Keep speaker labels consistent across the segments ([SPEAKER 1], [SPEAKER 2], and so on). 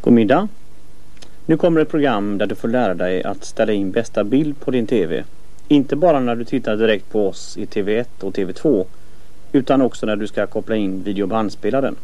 [SPEAKER 1] eftermiddag. Nu kommer ett program där du får lära dig att ställa in bästa bild på din TV. Inte bara när du tittar direkt på oss i TV1 och TV2 utan också när du ska koppla in videobandspelaren.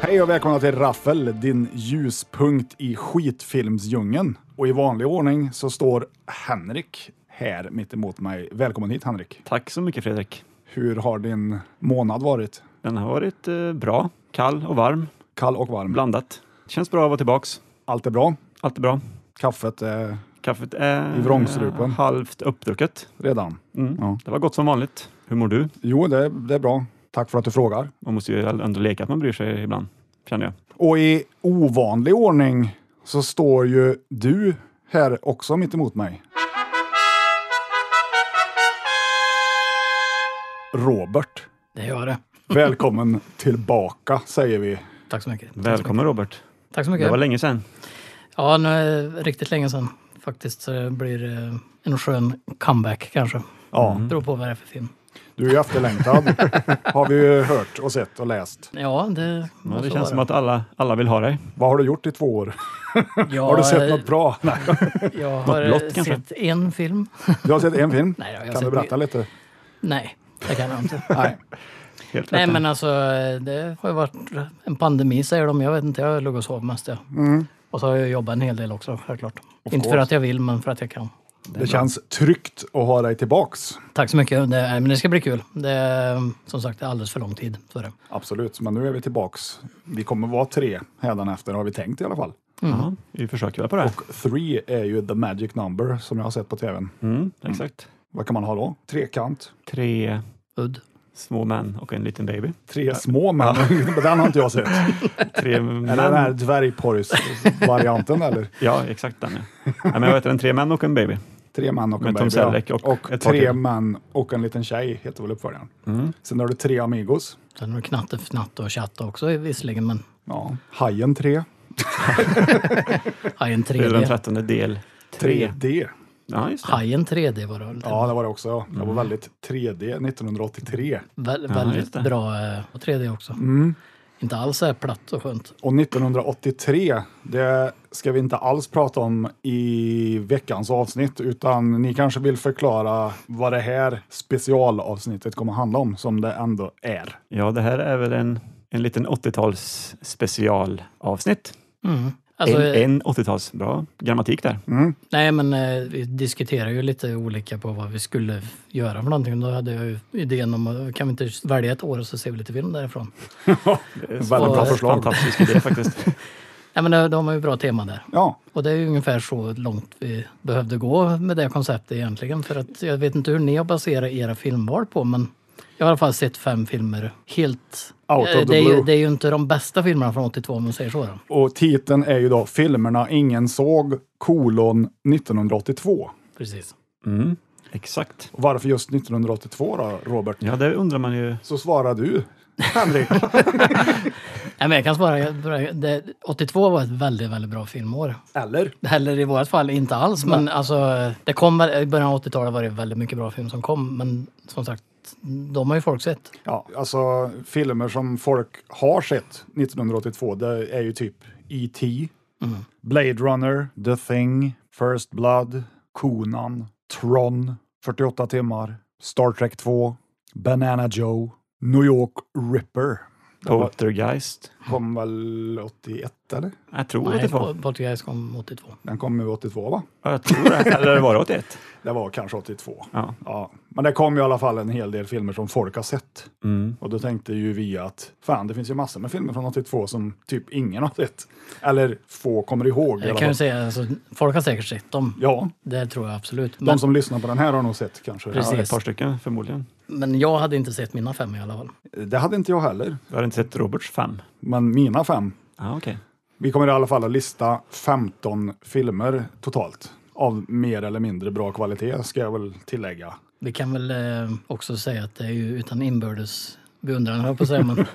[SPEAKER 2] Hej och välkomna till Raffel, din ljuspunkt i skitfilmsdjungeln. Och i vanlig ordning så står Henrik här mitt emot mig. Välkommen hit Henrik.
[SPEAKER 3] Tack så mycket Fredrik.
[SPEAKER 2] Hur har din månad varit?
[SPEAKER 3] Den har varit eh, bra, kall och varm,
[SPEAKER 2] Kall och varm?
[SPEAKER 3] blandat. Känns bra att vara tillbaks.
[SPEAKER 2] Allt är bra?
[SPEAKER 3] Allt är bra.
[SPEAKER 2] Kaffet är
[SPEAKER 3] Kaffet är eh,
[SPEAKER 2] I vrångstrupen.
[SPEAKER 3] halvt uppdrucket.
[SPEAKER 2] redan? Ja.
[SPEAKER 3] Det var gott som vanligt. Hur mår du?
[SPEAKER 2] Jo, det, det är bra. Tack för att du frågar.
[SPEAKER 3] Man måste ju ändå leka att man bryr sig ibland, känner jag.
[SPEAKER 2] Och i ovanlig ordning så står ju du här också mitt emot mig. Robert,
[SPEAKER 4] Det gör det.
[SPEAKER 2] välkommen tillbaka säger vi.
[SPEAKER 4] Tack så mycket.
[SPEAKER 3] Välkommen Robert.
[SPEAKER 4] Tack så mycket.
[SPEAKER 3] Det var länge sedan.
[SPEAKER 4] Ja, nu är det riktigt länge sedan faktiskt. Så det blir eh, en skön comeback kanske.
[SPEAKER 2] Ja.
[SPEAKER 4] Beror på vad det är för film.
[SPEAKER 2] Du är ju efterlängtad, har vi ju hört och sett och läst.
[SPEAKER 4] Ja, det...
[SPEAKER 3] Ja, det känns som att alla, alla vill ha dig.
[SPEAKER 2] Vad har du gjort i två år?
[SPEAKER 4] jag,
[SPEAKER 2] Har du sett något bra? Nej,
[SPEAKER 4] Jag har
[SPEAKER 3] blått,
[SPEAKER 4] eh, sett
[SPEAKER 3] kanske?
[SPEAKER 4] en film.
[SPEAKER 2] du har sett en film?
[SPEAKER 4] Nej, jag har
[SPEAKER 2] kan
[SPEAKER 4] sett
[SPEAKER 2] du berätta lite?
[SPEAKER 4] Nej, det kan jag inte.
[SPEAKER 2] Nej.
[SPEAKER 3] Helt
[SPEAKER 4] Nej,
[SPEAKER 3] rätt.
[SPEAKER 4] men alltså eh, det har ju varit en pandemi säger de. Jag vet inte, jag låg och sov mest. Jag. Och så har jag jobbat en hel del också, självklart. Inte för
[SPEAKER 2] course.
[SPEAKER 4] att jag vill, men för att jag kan.
[SPEAKER 2] Det känns tryggt att ha dig tillbaks.
[SPEAKER 4] Tack så mycket. Det, nej, men det ska bli kul. Det är som sagt det är alldeles för lång tid. Så är det.
[SPEAKER 2] Absolut, men nu är vi tillbaks. Vi kommer vara tre hädanefter har vi tänkt i alla fall.
[SPEAKER 4] mm.
[SPEAKER 3] Ja, vi försöker väl på det här.
[SPEAKER 2] Three är ju the magic number som jag har sett på tvn.
[SPEAKER 3] Mm, exakt.
[SPEAKER 2] Vad kan man ha då? Trekant?
[SPEAKER 3] Tre
[SPEAKER 4] Udd.
[SPEAKER 3] små män och en liten baby.
[SPEAKER 2] Tre små män? Den har inte jag sett.
[SPEAKER 3] Tre
[SPEAKER 2] Eller den här
[SPEAKER 3] män.
[SPEAKER 2] dvärgporrs-varianten eller?
[SPEAKER 3] Ja, exakt den. Ja. Nej, men vad heter den? Tre män och en baby.
[SPEAKER 2] Tre män och en
[SPEAKER 3] Med Tom
[SPEAKER 2] baby.
[SPEAKER 3] Selleck
[SPEAKER 2] ja.
[SPEAKER 3] och ett par
[SPEAKER 2] tre
[SPEAKER 3] till.
[SPEAKER 2] män och en liten tjej heter väl uppföljaren.
[SPEAKER 3] Mm.
[SPEAKER 2] Sen har du Tre Amigos.
[SPEAKER 4] Sen har du Knatte, Fnatte och Tjatte också visserligen, men
[SPEAKER 2] Ja. Hajen 3.
[SPEAKER 4] Hajen
[SPEAKER 3] Det är den
[SPEAKER 4] 3D.
[SPEAKER 3] trettonde del. Tre.
[SPEAKER 2] 3D.
[SPEAKER 3] Ja, just det.
[SPEAKER 4] Hajen 3D var det väl?
[SPEAKER 2] Ja, det var det också. ja. Jag var
[SPEAKER 3] Mm.
[SPEAKER 2] väldigt 3D 1983.
[SPEAKER 4] Vä-
[SPEAKER 3] Ja, just
[SPEAKER 4] väldigt
[SPEAKER 3] det. Mm.
[SPEAKER 4] bra eh, och 3D också. Inte alls så här platt och skönt.
[SPEAKER 2] Och 1983, det ska vi inte alls prata om i veckans avsnitt, utan ni kanske vill förklara vad det här specialavsnittet kommer handla om, som det ändå är.
[SPEAKER 3] Ja, det här är väl en, en liten 80-tals specialavsnitt.
[SPEAKER 4] Alltså,
[SPEAKER 3] en,
[SPEAKER 4] eh,
[SPEAKER 3] en 80-tals, bra grammatik där.
[SPEAKER 2] Mm.
[SPEAKER 4] Nej, men eh, vi diskuterar ju lite olika på vad vi skulle göra för någonting. Då hade jag ju idén om att kan vi inte välja ett år och så ser vi lite film därifrån.
[SPEAKER 2] Väldigt
[SPEAKER 4] så-
[SPEAKER 2] bra förslag.
[SPEAKER 3] Fantastisk Eh, idé faktiskt.
[SPEAKER 4] Nej, men eh, de har ju bra tema där.
[SPEAKER 2] Ja,
[SPEAKER 4] Och det är ju ungefär så långt vi behövde gå med det konceptet egentligen. För att jag vet inte hur ni har baserat era filmval på, men jag har i alla fall sett fem filmer helt...
[SPEAKER 2] Out of
[SPEAKER 4] Eh,
[SPEAKER 2] the
[SPEAKER 4] det, är ju,
[SPEAKER 2] blue.
[SPEAKER 4] det är ju inte de bästa filmerna från 82 om man säger så. Då.
[SPEAKER 2] och titeln är ju då Filmerna ingen såg, kolon 1982.
[SPEAKER 4] Precis.
[SPEAKER 3] Mm, exakt.
[SPEAKER 2] Och varför just 1982 då, Robert?
[SPEAKER 3] Ja, det undrar man ju.
[SPEAKER 2] Så svarar du, Henrik.
[SPEAKER 4] Nej, men jag kan svara, jag börjar- det, 82 var ett väldigt, väldigt bra filmår.
[SPEAKER 2] Eller?
[SPEAKER 4] Eller i vårt fall inte alls, men alltså, det kom, väl- i början av 80-talet var det väldigt mycket bra film som kom, men som sagt, de har ju folk sett.
[SPEAKER 2] Ja, alltså filmer som folk har sett 1982, det är ju typ E.T., Blade Runner, The Thing, First Blood, Conan, Tron, 48 timmar, Star Trek 2, Banana Joe, New York Ripper.
[SPEAKER 3] Poltergeist.
[SPEAKER 2] Kom väl 81 eller?
[SPEAKER 3] Jag tror
[SPEAKER 4] Nej,
[SPEAKER 3] 82.
[SPEAKER 4] Poltergeist kom 82.
[SPEAKER 2] Den kom ju 82 va?
[SPEAKER 3] Ja, jag tror det. Eller var det 81?
[SPEAKER 2] Det var kanske 82.
[SPEAKER 3] Ja.
[SPEAKER 2] Ja. Men det kom ju i alla fall en hel del filmer som folk har sett.
[SPEAKER 3] Mm.
[SPEAKER 2] Och då tänkte ju vi att fan, det finns ju massor med filmer från 82 som typ ingen har sett. Eller få kommer ihåg. i
[SPEAKER 4] Jag
[SPEAKER 2] alla
[SPEAKER 4] kan ju
[SPEAKER 2] fall.
[SPEAKER 4] säga, alltså, folk har säkert sett dem.
[SPEAKER 2] Ja,
[SPEAKER 4] Det tror jag absolut.
[SPEAKER 2] de
[SPEAKER 4] Men,
[SPEAKER 2] som lyssnar på den här har nog sett kanske.
[SPEAKER 4] Precis.
[SPEAKER 3] Ja, ett par stycken förmodligen.
[SPEAKER 4] men jag hade inte sett mina fem i alla fall.
[SPEAKER 2] Det hade inte jag heller,
[SPEAKER 3] Du har inte sett Roberts fem?
[SPEAKER 2] men mina fem.
[SPEAKER 3] Ja, okej.
[SPEAKER 2] Vi kommer i alla fall att lista 15 filmer totalt. Av mer eller mindre bra kvalitet ska jag väl tillägga.
[SPEAKER 4] Vi kan väl eh, också säga att det är ju utan inbördes beundran, höll jag på att säga. Men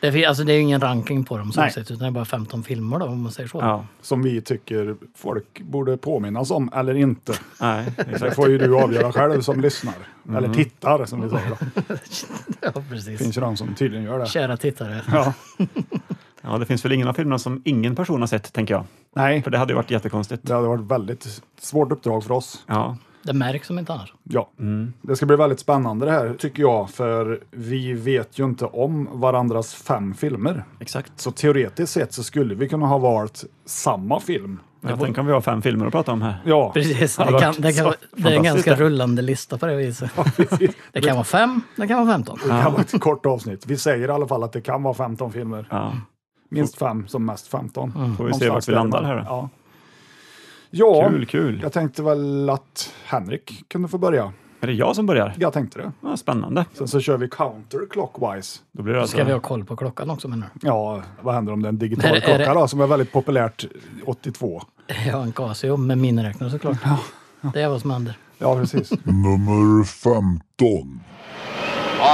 [SPEAKER 4] det, fin- alltså, det är ju ingen ranking på dem som
[SPEAKER 2] Nej.
[SPEAKER 4] sett, utan det är bara 15 filmer då, om man säger så.
[SPEAKER 3] Ja,
[SPEAKER 2] Som vi tycker folk borde påminnas om eller inte.
[SPEAKER 3] nej,
[SPEAKER 2] Det
[SPEAKER 3] exakt.
[SPEAKER 2] får ju du avgöra själv som lyssnar.
[SPEAKER 4] Mm.
[SPEAKER 2] Eller tittar som vi sa. då.
[SPEAKER 4] Ja,
[SPEAKER 2] Det
[SPEAKER 4] precis.
[SPEAKER 2] finns ju de som tydligen gör det.
[SPEAKER 4] Kära tittare.
[SPEAKER 2] Ja.
[SPEAKER 3] Ja, det finns väl ingen av filmerna som ingen person har sett, tänker jag.
[SPEAKER 2] Nej,
[SPEAKER 3] För det hade ju varit jättekonstigt.
[SPEAKER 2] det hade varit väldigt svårt uppdrag för oss.
[SPEAKER 3] Ja,
[SPEAKER 4] Det märks som inte annars.
[SPEAKER 2] Ja,
[SPEAKER 3] Mm.
[SPEAKER 2] det ska bli väldigt spännande det här tycker jag. För vi vet ju inte om varandras fem filmer.
[SPEAKER 3] exakt.
[SPEAKER 2] Så teoretiskt sett så skulle vi kunna ha valt samma film.
[SPEAKER 3] Jag tänker om vi har fem filmer att prata om här.
[SPEAKER 2] Ja,
[SPEAKER 4] Precis, det,
[SPEAKER 2] varit
[SPEAKER 4] kan, det,
[SPEAKER 2] så
[SPEAKER 4] kan, det är en ganska
[SPEAKER 3] fantastiskt det.
[SPEAKER 4] rullande lista på det viset. Det kan vara fem, det kan vara 15.
[SPEAKER 2] det kan vara ett kort avsnitt. Vi säger i alla fall att det kan vara 15 filmer.
[SPEAKER 3] Ja.
[SPEAKER 2] Minst fem, som mest 15.
[SPEAKER 3] Mm. Får vi se
[SPEAKER 2] Någonstans
[SPEAKER 3] vart vi landar
[SPEAKER 2] däremellan.
[SPEAKER 3] här då.
[SPEAKER 2] Ja. ja,
[SPEAKER 3] Kul, kul.
[SPEAKER 2] jag tänkte väl att Henrik kunde få börja.
[SPEAKER 3] Är det jag som börjar?
[SPEAKER 2] Jag tänkte det.
[SPEAKER 3] Ja, spännande.
[SPEAKER 2] Sen så kör vi counterclockwise.
[SPEAKER 3] Då blir det alltså...
[SPEAKER 4] Ska vi ha koll på klockan också menar du?
[SPEAKER 2] Ja, vad händer om det är en digital
[SPEAKER 4] Är det- är
[SPEAKER 2] klocka då, som är väldigt populärt 82?
[SPEAKER 4] Jag har en Casio med miniräknare såklart. Det är vad som händer.
[SPEAKER 2] Ja, precis.
[SPEAKER 5] Nummer 15.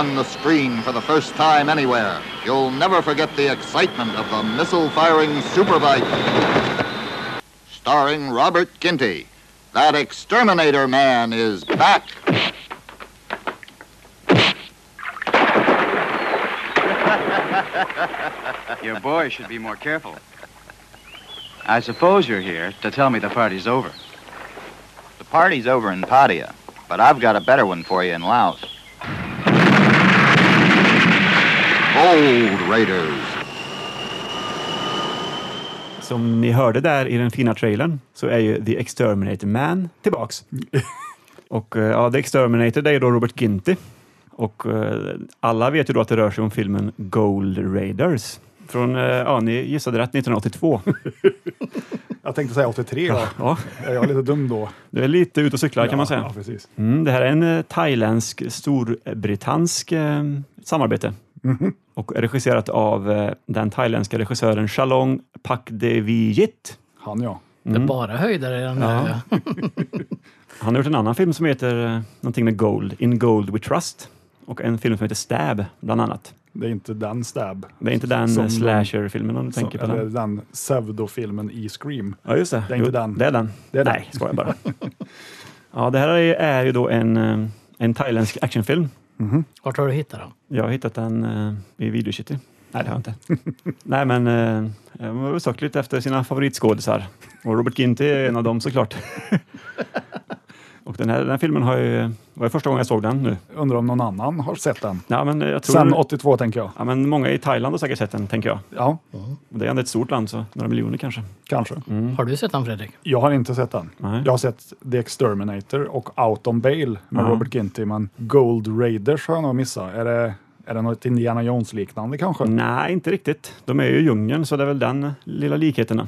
[SPEAKER 6] On the screen for the first time anywhere, you'll never forget the excitement of the missile firing Super Viking. Starring Robert Ginty, that exterminator man is back.
[SPEAKER 7] Your boy should be more careful. I suppose you're here to tell me the party's over.
[SPEAKER 6] The party's over in Padia, but I've got a better one for you in Laos. Old Raiders.
[SPEAKER 3] Som ni hörde där i den fina trailern så är ju The Exterminator Man tillbaks. och eh, ja, The Exterminator det är ju då Robert Ginty. Och eh, alla vet ju då att det rör sig om filmen Gold Raiders. Från, eh, ja ni gissade rätt, 1982.
[SPEAKER 2] Jag tänkte säga 83 då.
[SPEAKER 3] ja,
[SPEAKER 2] Är jag lite dum då?
[SPEAKER 3] du är lite ute och cyklar kan man
[SPEAKER 2] Ja,
[SPEAKER 3] säga.
[SPEAKER 2] precis.
[SPEAKER 3] Mm, det här är en eh, thailändsk storbritannisk eh, samarbete.
[SPEAKER 2] Mhm.
[SPEAKER 3] Och är regisserat av eh, den thailändska regissören Shalong Pakdevijit.
[SPEAKER 2] Han ja.
[SPEAKER 4] Det är bara höjdare i den här.
[SPEAKER 3] Ja.
[SPEAKER 4] ja.
[SPEAKER 3] Han har gjort en annan film som heter eh, någonting med Gold, In Gold We Trust. Och en film som heter Stab, bland annat.
[SPEAKER 2] Det är inte den stab.
[SPEAKER 3] Det är inte den
[SPEAKER 2] Som
[SPEAKER 3] eh,
[SPEAKER 2] de-
[SPEAKER 3] slasher-filmen om du tänker på
[SPEAKER 2] Eller
[SPEAKER 3] den.
[SPEAKER 2] den pseudofilmen i Scream.
[SPEAKER 3] Ja, just det.
[SPEAKER 2] det är inte
[SPEAKER 3] Jo,
[SPEAKER 2] den.
[SPEAKER 3] Det är den.
[SPEAKER 2] Det är den.
[SPEAKER 3] Nej, skojar bara. ja, det här är, är ju då en, eh, en thailändsk actionfilm.
[SPEAKER 2] Mhm.
[SPEAKER 4] Vart har du hittat den?
[SPEAKER 3] Jag har hittat den eh, i Videocity. Nej, det har jag inte. Nej, men eh, de har väl sökt lite efter sina favoritskådisar. Och Robert Ginty är en av dem såklart. Och den här, den här filmen har ju, var ju första gången jag såg den nu.
[SPEAKER 2] Undrar om någon annan har sett den.
[SPEAKER 3] Ja, men eh, jag tror
[SPEAKER 2] Sen 82 tänker jag.
[SPEAKER 3] Ja, men många i Thailand har säkert sett den, tänker jag.
[SPEAKER 2] Ja,
[SPEAKER 3] Och Det är ändå ett stort land, så några miljoner kanske.
[SPEAKER 2] kanske.
[SPEAKER 3] Mm.
[SPEAKER 4] Har du sett den Fredrik?
[SPEAKER 2] Jag har inte sett den.
[SPEAKER 3] Nej.
[SPEAKER 2] Jag har sett The Exterminator och Out on Bail med
[SPEAKER 3] Ja.
[SPEAKER 2] Robert Ginty, men Gold Raiders har jag nog missat. Är det, är det något Indiana Jones-liknande kanske?
[SPEAKER 3] Nej, inte riktigt. De är ju i djungeln, så det är väl den lilla likheten.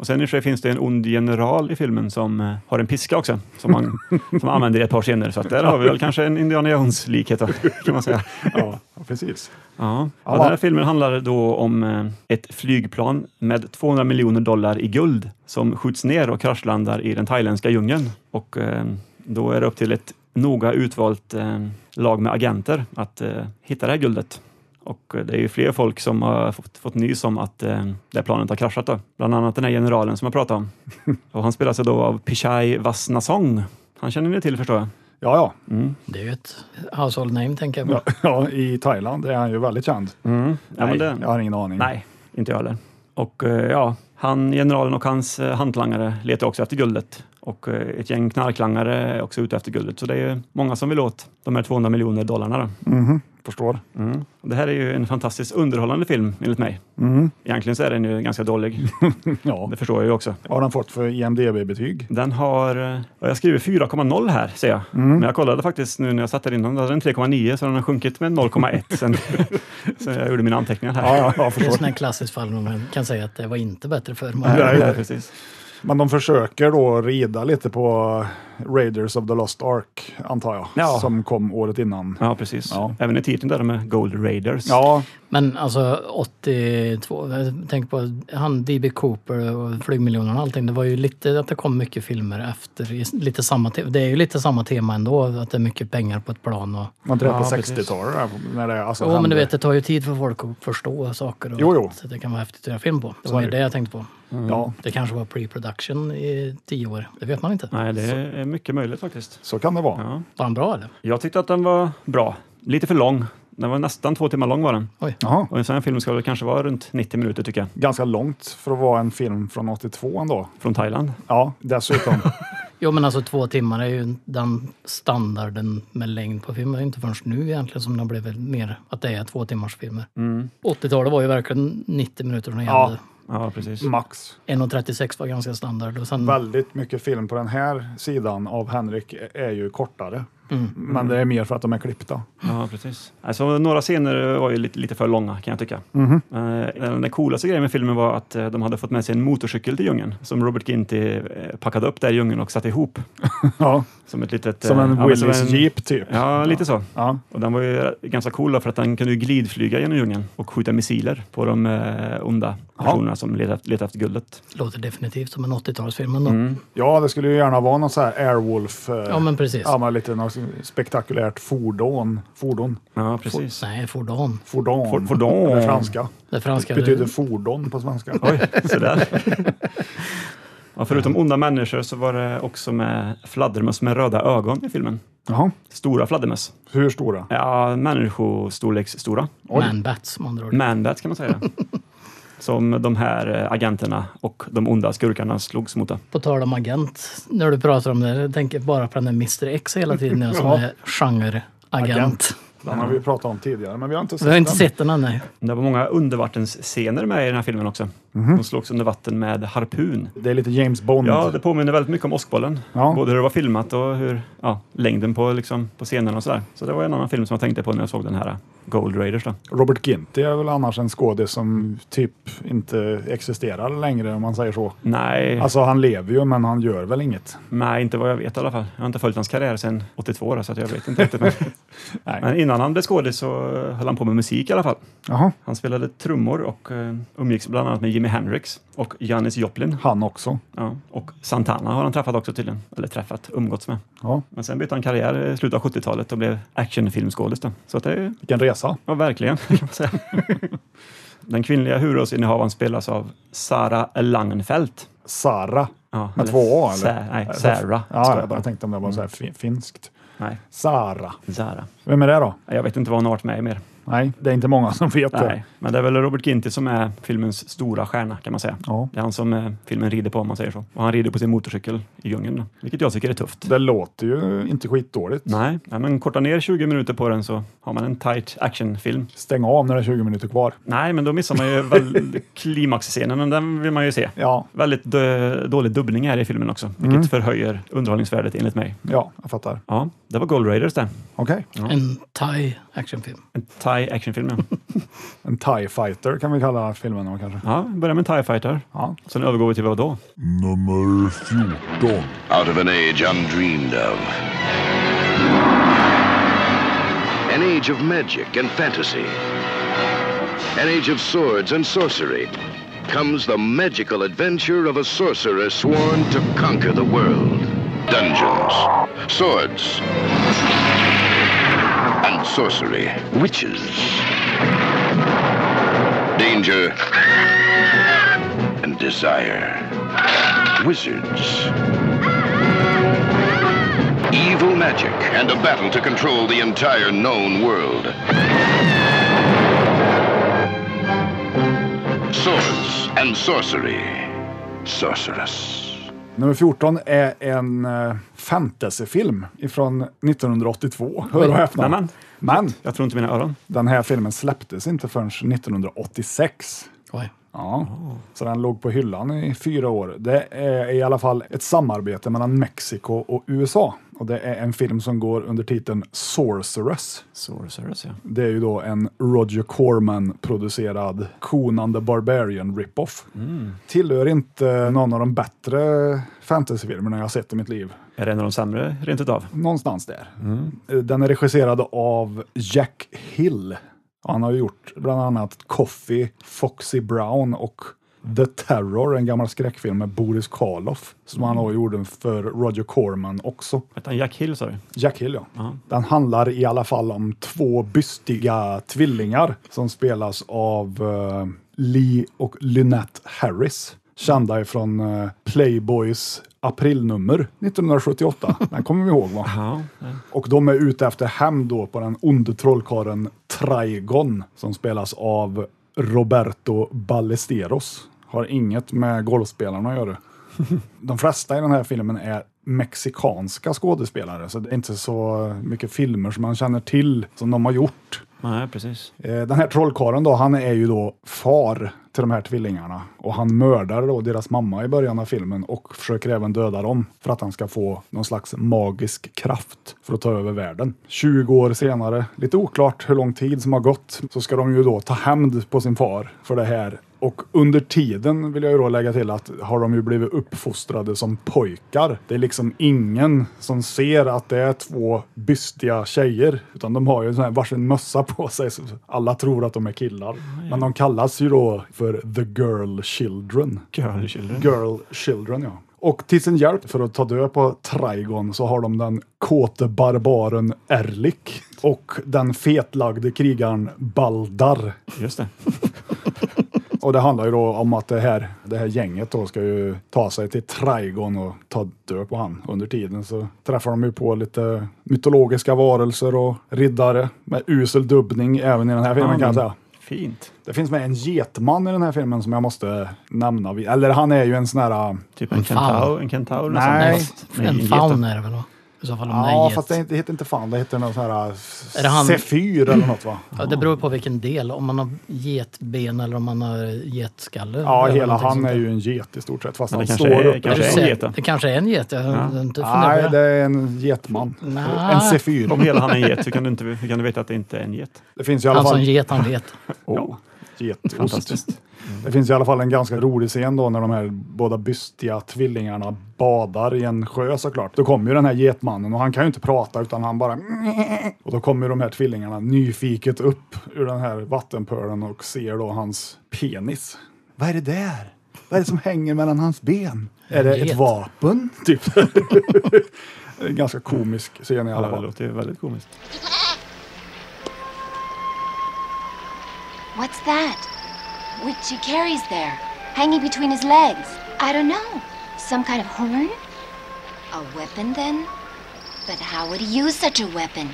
[SPEAKER 3] Och sen i och för sig finns det en ond general i filmen som eh, har en piska också, som han som han använder i ett par scener. Så att där har vi väl kanske en Indiana Jones-likhet, då, kan man säga.
[SPEAKER 2] Ja, precis.
[SPEAKER 3] Ja. Ja, den här filmen handlar då om eh, ett flygplan med 200 miljoner dollar i guld som skjuts ner och kraschlandar i den thailändska djungeln. Och eh, då är det upp till ett noga utvalt eh, lag med agenter att eh, hitta det här guldet. Och eh, det är ju fler folk som har fått, fått nys om att eh, det här planet har kraschat. Då. Bland annat den här generalen som jag pratade om. Och han spelas ju då av Pichai Vasnasong. Han känner ni till förstår jag.
[SPEAKER 2] Ja, ja.
[SPEAKER 4] Det är ju ett household name tänker jag. på.
[SPEAKER 2] Ja, ja, i Thailand är han ju väldigt känd.
[SPEAKER 3] Ja, men
[SPEAKER 2] Nej,
[SPEAKER 3] det-
[SPEAKER 2] jag har ingen aning.
[SPEAKER 3] Nej, inte jag heller. Och eh, ja, han, generalen och hans eh, hantlangare letar också efter guldet. Och eh, ett gäng knarklangare är också ute efter guldet. Så det är ju många som vill åt de här 200 miljoner dollarna.
[SPEAKER 2] Mhm, förstår.
[SPEAKER 3] Då. Mm. Och Det här är ju en fantastiskt underhållande film enligt mig.
[SPEAKER 2] Mhm,
[SPEAKER 3] Egentligen så är den ju ganska dålig.
[SPEAKER 2] ja.
[SPEAKER 3] Det förstår jag ju också.
[SPEAKER 2] Vad har den fått för IMDB-betyg?
[SPEAKER 3] Den har... eh, Jag skriver 4,0 här, ser jag.
[SPEAKER 2] Mm.
[SPEAKER 3] Men jag kollade faktiskt nu när jag satt där innan, då hade den 3,9 så den har sjunkit med 0,1 sen, sen jag gjorde mina anteckningar
[SPEAKER 2] Ja,
[SPEAKER 3] här.
[SPEAKER 2] ja, jag
[SPEAKER 4] Det är
[SPEAKER 2] förstår.
[SPEAKER 4] sån här klassisk fall när man kan säga att det var inte bättre förr.
[SPEAKER 3] Ja,
[SPEAKER 4] Man-
[SPEAKER 2] Nej.
[SPEAKER 3] ja, precis.
[SPEAKER 2] Men de försöker då rida lite på Raiders of the Lost Ark, antar jag,
[SPEAKER 3] Ja.
[SPEAKER 2] som kom året innan.
[SPEAKER 3] Ja, precis.
[SPEAKER 2] Ja.
[SPEAKER 3] Även i titeln där med Gold Raiders.
[SPEAKER 2] Ja,
[SPEAKER 4] Men alltså 82, jag tänker på han D.B. Cooper och Flygmiljonerna och allting. Det var ju lite att det kom mycket filmer efter. i s- Lite samma te- det är ju lite samma tema ändå, att det är mycket pengar på ett plan. Och,
[SPEAKER 2] var inte det på
[SPEAKER 3] Ja, precis.
[SPEAKER 2] 60-talet? när det, Alltså,
[SPEAKER 4] jo, men
[SPEAKER 2] hände?
[SPEAKER 4] du vet, det tar ju tid för folk att förstå saker. Och
[SPEAKER 2] Jo, jo.
[SPEAKER 4] Så det kan vara häftigt att göra film på. Det
[SPEAKER 2] Så
[SPEAKER 4] var
[SPEAKER 2] är
[SPEAKER 4] ju
[SPEAKER 2] det.
[SPEAKER 4] det jag tänkte på.
[SPEAKER 2] Ja,
[SPEAKER 4] Det kanske var pre-production i tio år. Det vet man inte.
[SPEAKER 3] Nej, det är mycket möjligt faktiskt.
[SPEAKER 2] så kan det vara.
[SPEAKER 3] Ja.
[SPEAKER 4] Var han bra eller?
[SPEAKER 3] Jag tyckte att den var bra. Lite för lång. Den var nästan två timmar lång var den.
[SPEAKER 2] Jaha.
[SPEAKER 3] Och en sån här film ska väl kanske vara runt 90 minuter tycker jag.
[SPEAKER 2] Ganska långt för att vara en film från 82 ändå.
[SPEAKER 3] Från Thailand.
[SPEAKER 2] Ja, dessutom.
[SPEAKER 4] Jo, men alltså två timmar är ju den standarden med längd på filmer. Det är Inte förrän nu egentligen som det har blivit mer att det är två timmars filmer. 80-talet var ju verkligen 90 minuter från
[SPEAKER 2] Mm. Ja.
[SPEAKER 4] ja.
[SPEAKER 3] Ja, precis.
[SPEAKER 2] Max.
[SPEAKER 4] 1.36 var ganska standard och sen
[SPEAKER 2] Väldigt mycket film på den här sidan av Henrik är ju kortare. Men det är mer för att de är klippta.
[SPEAKER 3] Ja, precis. Alltså, några scener var ju lite, lite för långa kan jag tycka. Eh, Den, den coolaste grejen med filmen var att eh, de hade fått med sig en motorcykel till djungeln som Robert Ginty eh, packade upp där i djungeln och satte ihop.
[SPEAKER 2] Ja,
[SPEAKER 3] Som ett litet...
[SPEAKER 2] som
[SPEAKER 3] eh,
[SPEAKER 2] en
[SPEAKER 3] ja, men
[SPEAKER 2] Willys
[SPEAKER 3] som en-
[SPEAKER 2] Jeep typ.
[SPEAKER 3] Ja, lite så.
[SPEAKER 2] Ja.
[SPEAKER 3] Och den var ju ganska cool då, för att den kunde ju glidflyga genom djungeln och skjuta missiler på de eh, onda personerna som letade efter, letade efter guldet.
[SPEAKER 4] låter definitivt som en 80-talsfilm
[SPEAKER 2] Mm.
[SPEAKER 4] ändå.
[SPEAKER 2] ja, det skulle ju gärna vara något så här Airwolf. eh,
[SPEAKER 4] Ja, men precis.
[SPEAKER 2] Ja, men lite något spektakulärt fordon. Fordon.
[SPEAKER 3] Ja, precis.
[SPEAKER 4] Nej, fordon.
[SPEAKER 2] Fordon.
[SPEAKER 3] For- fordon.
[SPEAKER 2] Eller franska.
[SPEAKER 4] Det franska.
[SPEAKER 2] Betyder fordon på svenska.
[SPEAKER 3] Oj, sådär. Ja, förutom onda människor så var det också med fladdermöss med röda ögon i filmen.
[SPEAKER 2] Jaha.
[SPEAKER 3] Stora fladdermöss.
[SPEAKER 2] Hur stora?
[SPEAKER 3] Ja, människostorleksstora.
[SPEAKER 4] Man-bats med andra ord.
[SPEAKER 3] Manbats kan man säga. Som de här eh, agenterna och de onda skurkarna slogs mot. det.
[SPEAKER 4] På tal om agent, när du pratar om det, jag tänker bara på den där Mr X hela tiden, jag som
[SPEAKER 2] Ja.
[SPEAKER 4] är genre-agent.
[SPEAKER 2] Agent. Den har vi pratat om tidigare, men vi har inte sett
[SPEAKER 4] Vi har inte
[SPEAKER 2] den.
[SPEAKER 4] sett den än, nej.
[SPEAKER 3] Det var många undervattensscener med i den här filmen också.
[SPEAKER 2] Mhm.
[SPEAKER 3] De slogs under vatten med harpun.
[SPEAKER 2] Det är lite James Bond.
[SPEAKER 3] Ja, det påminner väldigt mycket om Åskbollen.
[SPEAKER 2] Mm. Ja.
[SPEAKER 3] Både hur det var filmat och hur, ja, längden på, liksom, på scenerna och sådär. Så det var en annan film som jag tänkte på när jag såg den här äh, Gold Raiders. Då.
[SPEAKER 2] Robert Ginty är väl annars en skådis som typ inte existerar längre om man säger så.
[SPEAKER 3] Nej,
[SPEAKER 2] Alltså han lever ju men han gör väl inget.
[SPEAKER 3] nej, inte vad jag vet i alla fall. Jag har inte följt hans karriär sedan 82 då, så att jag vet inte riktigt. Men,
[SPEAKER 2] Nej.
[SPEAKER 3] men innan han blev skådis så höll han på med musik i alla fall.
[SPEAKER 2] Jaha,
[SPEAKER 3] Han spelade trummor och eh, umgicks bland annat med Jimi Hendrix och Janis Joplin.
[SPEAKER 2] han också.
[SPEAKER 3] Ja, och Santana har han träffat också tydligen. Eller träffat, umgåtts med.
[SPEAKER 2] Ja,
[SPEAKER 3] Men sen bytte han karriär i slutet av 70-talet och blev actionfilmskådis. då. Så att det
[SPEAKER 2] vilken resa.
[SPEAKER 3] ja, verkligen, kan man säga. Den kvinnliga huvudrollsinnehavaren spelas av Sara Langenfeld.
[SPEAKER 2] Sara.
[SPEAKER 3] Ja,
[SPEAKER 2] Med två A, eller?
[SPEAKER 3] Sa- nej, Sarah. ska
[SPEAKER 2] Ja,
[SPEAKER 3] jag
[SPEAKER 2] jag
[SPEAKER 3] bara.
[SPEAKER 2] bara tänkte om det var så här fi- finskt.
[SPEAKER 3] Nej,
[SPEAKER 2] Sara.
[SPEAKER 3] Zara.
[SPEAKER 2] Vem är det då?
[SPEAKER 3] Jag vet inte vad hon har varit med i mer.
[SPEAKER 2] Nej, det är inte många som vet det.
[SPEAKER 3] Nej, men det är väl Robert Ginty som är filmens stora stjärna kan man säga.
[SPEAKER 2] Ja.
[SPEAKER 3] Det är han som eh, filmen rider på om man säger så. Och han rider på sin motorcykel i djungeln, vilket jag tycker är tufft.
[SPEAKER 2] Det låter ju inte skitdåligt.
[SPEAKER 3] Nej, nej, men korta ner 20 minuter på den så har man en tight actionfilm.
[SPEAKER 2] Stäng av när det är 20 minuter kvar.
[SPEAKER 3] Nej, men då missar man ju väl klimaxscenen, men den vill man ju se.
[SPEAKER 2] Ja,
[SPEAKER 3] Väldigt dö- dålig dubbning här i filmen också, vilket förhöjer underhållningsvärdet enligt mig.
[SPEAKER 2] ja, jag fattar.
[SPEAKER 3] Ja, det var Gold Raiders det.
[SPEAKER 2] Okej.
[SPEAKER 4] En thai actionfilm.
[SPEAKER 3] En thai actionfilm, ja.
[SPEAKER 2] En TIE fighter kan vi kalla filmen då kanske.
[SPEAKER 3] ja vi börjar med en thai fighter.
[SPEAKER 2] Ja.
[SPEAKER 3] Sen övergår vi till vad då?
[SPEAKER 5] Nummer 14.
[SPEAKER 8] out of an age undreamed of. An age of magic and fantasy. An age of swords and sorcery. Comes the magical adventure of a sorcerer sworn to conquer the world. Dungeons, swords, and sorcery. Witches. Danger and desire. Wizards evil magic, and a battle to control the entire known world. Swords and sorcery. Sorceress.
[SPEAKER 2] Nummer 14 är en eh, fantasyfilm från 1982. Hör och häpna.
[SPEAKER 3] Nämen.
[SPEAKER 2] Men
[SPEAKER 3] Jag tror inte mina öron.
[SPEAKER 2] den här filmen släpptes inte förrän 1986.
[SPEAKER 4] Oj.
[SPEAKER 2] Ja, så den låg på hyllan i fyra år. Det är i alla fall ett samarbete mellan Mexiko och USA. Och det är en film som går under titeln Sorceress.
[SPEAKER 3] Sorceress, ja.
[SPEAKER 2] Det är ju då en Roger Corman-producerad Conan the Barbarian rip-off. Tillhör inte någon av de bättre fantasyfilmerna jag har sett i mitt liv.
[SPEAKER 3] Är det en av de sämre, rent utav?
[SPEAKER 2] Någonstans där. Den är regisserad av Jack Hill. Han har gjort bland annat Coffee, Foxy Brown och The Terror, en gammal skräckfilm med Boris Karloff, som han då gjorde för Roger Corman också.
[SPEAKER 3] Hette han Jack Hill, sa du?
[SPEAKER 2] Jack Hill, ja.
[SPEAKER 3] Ja.
[SPEAKER 2] Den handlar i alla fall om två bystiga tvillingar som spelas av eh, Lee och Lynette Harris. Kända ifrån eh, Playboys aprilnummer 1978. Den kommer vi ihåg va?
[SPEAKER 3] Ja.
[SPEAKER 2] Och de är ute efter hämnd då på den onde trollkarlen Trigon som spelas av Roberto Ballesteros. Har inget med golfspelarna att göra. De flesta i den här filmen är mexikanska skådespelare, så det är inte så mycket filmer som man känner till som de har gjort.
[SPEAKER 3] Nej, precis.
[SPEAKER 2] Eh, Den här trollkarlen då, han är ju då far till de här tvillingarna och han mördar då deras mamma i början av filmen och försöker även döda dem för att han ska få någon slags magisk kraft för att ta över världen. 20 år senare, lite oklart hur lång tid som har gått, så ska de ju då ta hämnd på sin far för det här och under tiden vill jag ju då lägga till att har de ju blivit uppfostrade som pojkar. Det är liksom ingen som ser att det är två bystiga tjejer, utan de har ju sån här varsin mössa på sig. Så alla tror att de är killar, men de kallas ju då för the girl children.
[SPEAKER 3] Girl Children.
[SPEAKER 2] Girl Children, ja. Och till sin hjälp för att ta död på Trigon så har de den kåte barbaren Erlik och den fetlagde krigaren Baldar.
[SPEAKER 3] Just det.
[SPEAKER 2] Och det handlar ju då om att det här, det här gänget då ska ju ta sig till Trigon och ta död på han. Under tiden så träffar de ju på lite mytologiska varelser och riddare med usel dubbning även i den här filmen kan jag säga.
[SPEAKER 3] Fint.
[SPEAKER 2] Det finns med en getman i den här filmen som jag måste nämna. vid- Eller han är ju en sån här...
[SPEAKER 3] Typ en
[SPEAKER 4] faun.
[SPEAKER 3] kentaur. En kentaur eller
[SPEAKER 2] Nej.
[SPEAKER 3] sånt.
[SPEAKER 4] En
[SPEAKER 3] get.
[SPEAKER 4] faun är det väl? va? I så fall om
[SPEAKER 2] Ja,
[SPEAKER 4] det
[SPEAKER 2] fast
[SPEAKER 4] fast
[SPEAKER 2] det, det heter inte fan, det heter någon sån här...
[SPEAKER 4] Är det han-
[SPEAKER 2] Sefyr eller något va?
[SPEAKER 4] Ja, det beror på vilken del. Om man har getben eller om man har getskalle.
[SPEAKER 2] Ja,
[SPEAKER 4] Det är väl
[SPEAKER 2] hela
[SPEAKER 4] någonting
[SPEAKER 2] han
[SPEAKER 4] sånt
[SPEAKER 2] är
[SPEAKER 4] där.
[SPEAKER 2] ju en get i stort sett, fast
[SPEAKER 3] Men
[SPEAKER 2] han
[SPEAKER 3] det kanske
[SPEAKER 2] står
[SPEAKER 3] är-
[SPEAKER 2] upp.
[SPEAKER 4] Ja,
[SPEAKER 3] kanske
[SPEAKER 4] du
[SPEAKER 3] är en
[SPEAKER 4] ser,
[SPEAKER 3] get då.
[SPEAKER 4] Det kanske är en get. Jag har inte
[SPEAKER 2] Nej,
[SPEAKER 4] funderat.
[SPEAKER 2] det är en getman.
[SPEAKER 4] Nej.
[SPEAKER 2] En sefyr.
[SPEAKER 3] Om hela han är en get, hur kan, du inte, hur kan du veta att det inte är en get?
[SPEAKER 2] Det finns ju i alla
[SPEAKER 4] Han
[SPEAKER 2] fall...
[SPEAKER 4] som Alltså, get, han vet.
[SPEAKER 2] Ja, getost.
[SPEAKER 3] Fantastiskt.
[SPEAKER 2] Mm. Det finns i alla fall en ganska rolig scen då när de här båda bystiga tvillingarna badar i en sjö såklart. Då kommer ju den här getmannen och han kan ju inte prata utan han bara... Och då kommer ju de här tvillingarna nyfiket upp ur den här vattenpölen och ser då hans penis. Vad är det där? Vad är det som hänger mellan hans ben? Är det ett
[SPEAKER 4] Get.
[SPEAKER 2] vapen? Typ. En ganska komisk scen i alla
[SPEAKER 3] Ja, det
[SPEAKER 2] fall.
[SPEAKER 3] låter ju väldigt komiskt.
[SPEAKER 9] What's that? Which he carries there, hanging between his legs. I don't know. Some kind of horn? A weapon, then? But how would he use such a weapon?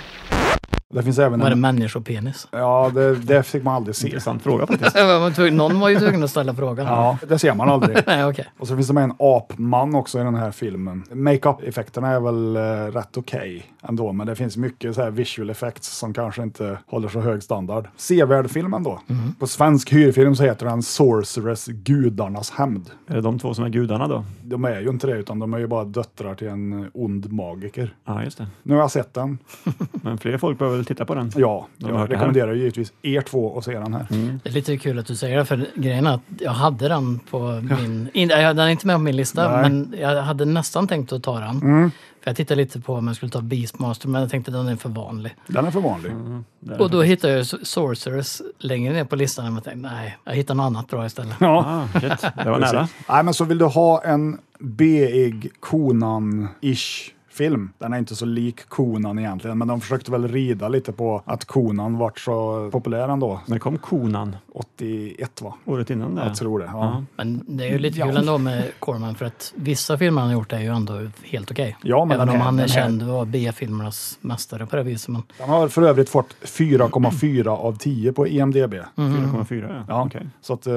[SPEAKER 2] Det finns även
[SPEAKER 4] Var det
[SPEAKER 2] en...
[SPEAKER 4] människopenis?
[SPEAKER 2] Ja, det, det fick man aldrig se.
[SPEAKER 3] Intressant fråga faktiskt.
[SPEAKER 4] Jag var tvungen- Någon var ju tvungen att ställa frågan.
[SPEAKER 2] Ja, det ser man aldrig.
[SPEAKER 4] Nej, okej.
[SPEAKER 2] Och så finns det med en apman också i den här filmen. Makeup-effekterna är väl eh, rätt okej ändå, men det finns mycket så här visual effects som kanske inte håller så hög standard. Sevärd film ändå.
[SPEAKER 3] Mhm.
[SPEAKER 2] På svensk hyrfilm så heter den Sorceress Gudarnas hämnd.
[SPEAKER 3] Är det de två som är gudarna då?
[SPEAKER 2] De är ju inte det, utan de är ju bara döttrar till en ond magiker.
[SPEAKER 3] Ja, just det.
[SPEAKER 2] Nu har jag sett den. Men
[SPEAKER 3] Men fler folk behöver väl titta på den?
[SPEAKER 2] ja,
[SPEAKER 3] De har hört
[SPEAKER 2] jag
[SPEAKER 3] det här. Mm.
[SPEAKER 2] rekommenderar ju givetvis er två att se den här.
[SPEAKER 4] Det är lite kul att du säger det, för grejen är att jag hade den på min... In, jag- den är inte med på min lista,
[SPEAKER 2] Nej. Mm.
[SPEAKER 4] men jag hade nästan tänkt att ta den. För jag tittade lite på om jag skulle ta Beastmaster, men jag tänkte att den är för vanlig.
[SPEAKER 2] Den är för vanlig.
[SPEAKER 3] Där.
[SPEAKER 4] Och då hittade jag Sorcerers längre ner på listan och jag tänkte nej, jag hittar något annat bra istället.
[SPEAKER 3] Ah, shit. Det var nära.
[SPEAKER 2] Nej, men så vill du ha en beig Conan-ish film. Den är inte så lik Konan egentligen, men de försökte väl rida lite på att Konan vart så populär ändå.
[SPEAKER 3] När kom Konan?
[SPEAKER 2] 81 va?
[SPEAKER 3] Året innan det?
[SPEAKER 2] Jag tror det. Ja.
[SPEAKER 3] Ja.
[SPEAKER 4] Men det är ju lite kul
[SPEAKER 2] Ja.
[SPEAKER 4] ändå med Corman för att vissa filmer han har gjort är ju ändå helt okej.
[SPEAKER 2] Ja, men
[SPEAKER 4] Även
[SPEAKER 2] den
[SPEAKER 4] om
[SPEAKER 2] här-
[SPEAKER 4] han är
[SPEAKER 2] den här-
[SPEAKER 4] känd och B-filmernas mästare på det viset. Men
[SPEAKER 2] Den har för övrigt fått 4,4 av 10 på E EMDB.
[SPEAKER 4] Mm.
[SPEAKER 3] 4,4 ja.
[SPEAKER 2] Ja,
[SPEAKER 3] Mm, Okej.
[SPEAKER 2] Så att, eh,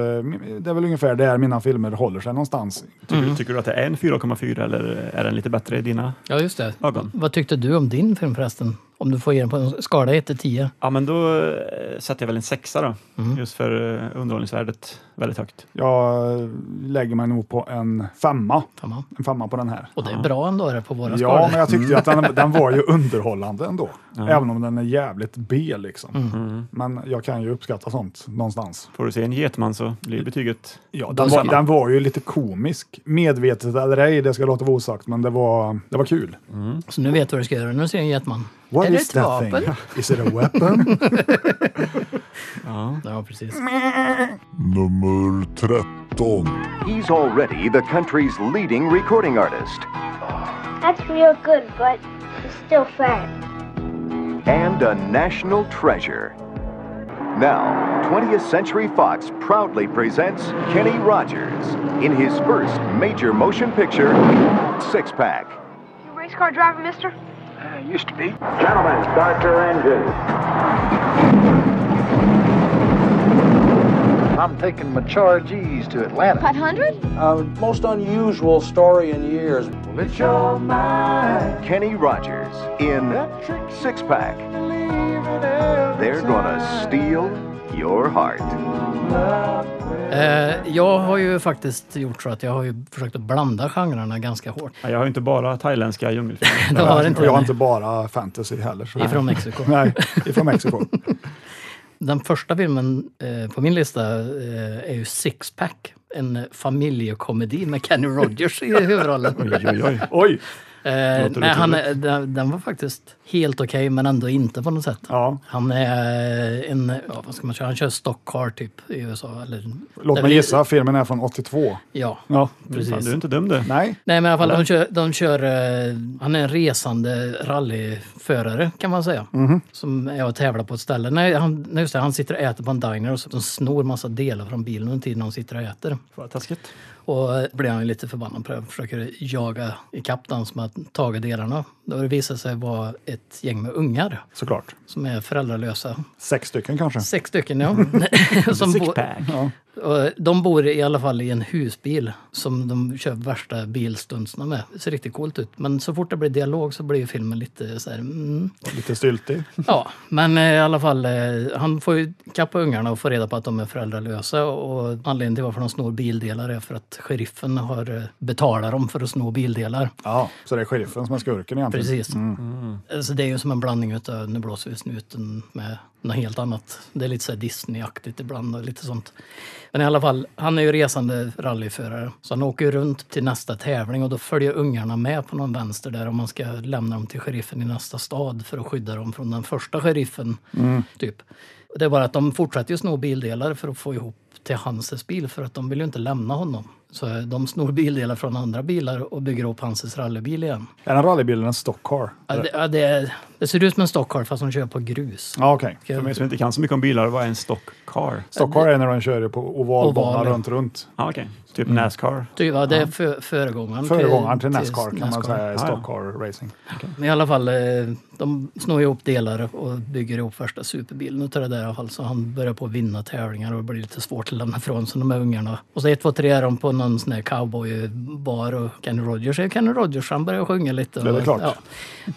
[SPEAKER 2] det är väl ungefär där mina filmer håller sig någonstans.
[SPEAKER 3] Tycker,
[SPEAKER 4] Mm.
[SPEAKER 3] tycker du att det är en 4,4 eller är den lite bättre i dina
[SPEAKER 4] ja, just det.
[SPEAKER 3] ögon?
[SPEAKER 4] Vad tyckte du om din film förresten? Om du får ge den på en skala 1 till 10.
[SPEAKER 3] Ja, men då eh, sätter jag väl en sexa då.
[SPEAKER 4] Mm.
[SPEAKER 3] Just för eh, underhållningsvärdet väldigt högt.
[SPEAKER 2] Jag eh, lägger mig nog på en femma.
[SPEAKER 4] Femma.
[SPEAKER 2] En femma på den här.
[SPEAKER 4] Och det är bra ändå det på våra
[SPEAKER 2] Ja,
[SPEAKER 4] skalor.
[SPEAKER 2] men jag tyckte ju att den, den var ju underhållande ändå. Även om den är jävligt B liksom.
[SPEAKER 4] Mm.
[SPEAKER 2] Men jag kan ju uppskatta sånt någonstans.
[SPEAKER 3] Får du se en getman så blir betyget...
[SPEAKER 2] Ja, den, var, den var ju lite komisk. Medvetet eller ej, det ska låta vara osagt, men det var, det var kul.
[SPEAKER 4] Så nu vet du vad du ska göra. Nu ser jag en getman.
[SPEAKER 2] What
[SPEAKER 4] är det
[SPEAKER 2] is
[SPEAKER 4] ett
[SPEAKER 2] that
[SPEAKER 4] vapen?
[SPEAKER 2] thing? Is it a weapon?
[SPEAKER 4] Ja, precis.
[SPEAKER 5] Nummer 13.
[SPEAKER 8] He's already the country's leading recording artist
[SPEAKER 10] That's real good, but it's still fat.
[SPEAKER 8] and a national treasure. Now, 20th Century Fox proudly presents Kenny Rogers in his first major motion picture, Six Pack.
[SPEAKER 10] You race car driver, mister?
[SPEAKER 8] used to be.
[SPEAKER 11] Gentlemen, start your engines.
[SPEAKER 6] I'm taking mature G's to Atlanta.
[SPEAKER 9] 500?
[SPEAKER 11] most unusual story in years.
[SPEAKER 8] Kenny Rogers in Six Pack. They're gonna steal your heart.
[SPEAKER 4] Eh, jag har ju faktiskt gjort så att jag har ju försökt att blanda genrerna ganska hårt.
[SPEAKER 3] Ja, Jag har ju inte bara thailändska djungelfilmer.
[SPEAKER 4] Det har inte
[SPEAKER 2] Och jag har
[SPEAKER 4] den.
[SPEAKER 2] inte bara fantasy heller. Så.
[SPEAKER 4] Ifrån Mexiko.
[SPEAKER 2] Nej, ifrån Mexiko.
[SPEAKER 4] Den första filmen eh, på min lista eh, är ju Six Pack. En familjekomedi med Kenny Rogers i huvudrollen.
[SPEAKER 3] Oj, oj, oj.
[SPEAKER 2] Oj!
[SPEAKER 4] Eh,
[SPEAKER 3] Låter
[SPEAKER 4] nej, han, är- den, den var faktiskt helt okej men ändå inte på något sätt.
[SPEAKER 2] Ja.
[SPEAKER 4] Han är en, ja, vad ska man köra, han kör stockcar typ i USA. Eller,
[SPEAKER 2] Låt mig gissa, filmen är från 82.
[SPEAKER 4] Ja,
[SPEAKER 2] Ja.
[SPEAKER 3] Fan,
[SPEAKER 4] precis.
[SPEAKER 3] du är inte dum du.
[SPEAKER 2] Nej,
[SPEAKER 4] Nej men i alla fall, de kör, de kör eh, han är en resande rallyförare kan man säga. Som är och tävlar på ett ställe. Nej, han, nej, just det, han sitter och äter på en diner och så de snor massa delar från bilen under tiden de sitter och äter.
[SPEAKER 3] Vad taskigt.
[SPEAKER 4] Och eh, blir han ju lite förbannad på det och försöker jaga ikapp den som har tagit delarna. Då det visar sig vara ett gäng med ungar
[SPEAKER 2] såklart.
[SPEAKER 4] som är föräldralösa.
[SPEAKER 2] Sex stycken kanske.
[SPEAKER 4] Sex stycken ja. som bo-
[SPEAKER 3] Pack.
[SPEAKER 4] och de bor i alla fall i en husbil som de kör värsta bilstuntsna med. Det ser riktigt coolt ut. Men så fort det blir dialog så blir ju filmen lite så här... Mm.
[SPEAKER 2] Lite styltig.
[SPEAKER 4] Ja, men eh, i alla fall, eh, han får ju kappa ungarna och få reda på att de är föräldralösa. Och anledningen till varför de snor bildelar är för att sheriffen har eh, betalar dem för att sno bildelar.
[SPEAKER 2] Ja, så det är sheriffen som är skurken egentligen. Mm.
[SPEAKER 4] Precis. Mm. Så Alltså, det är ju som en blandning utav Nu blåser vi snuten med något helt annat. Det är lite så här Disney-aktigt ibland och lite sånt. Men i alla fall, han är ju resande rallyförare. Så han åker ju runt till nästa tävling och då följer ungarna med på någon vänster där om man ska lämna dem till sheriffen i nästa stad för att skydda dem från den första sheriffen. Typ. Det är bara att de fortsätter ju sno bildelar för att få ihop till Hanses bil för att de vill ju inte lämna honom. Så de snor bildelar från andra bilar och bygger upp Hanses rallybil igen.
[SPEAKER 2] Är den rallybilen en stockcar?
[SPEAKER 4] Ja, det, ja, det, det ser ut som en stockcar fast de kör på grus.
[SPEAKER 2] Ja, okej.
[SPEAKER 4] Ska jag-
[SPEAKER 3] För mig som inte kan så mycket om bilar, vad är en stockcar?
[SPEAKER 2] Stockcar är när de kör på ovalbana
[SPEAKER 4] Oval, ja.
[SPEAKER 2] runt, runt.
[SPEAKER 3] Ja, okej. Typ Nascar.
[SPEAKER 4] Ty- Ja, det är för, föregångaren. till-
[SPEAKER 2] Föregångaren till Nascar kan man
[SPEAKER 4] NASCAR.
[SPEAKER 2] säga är
[SPEAKER 3] ja.
[SPEAKER 2] stockcar racing.
[SPEAKER 4] Men i alla fall, eh, de snor ihop delar och bygger ihop värsta superbilen utav det där i alla fall. Så han börjar på att vinna tävlingar och det blir lite svårt att lämna ifrån sig de här ungarna. Och så ett, två, tre är de på någon sån här cowboybar och Kenny Rogers är Kenny Rogers. Han börjar sjunga lite.
[SPEAKER 2] Det är
[SPEAKER 4] och-
[SPEAKER 2] klart.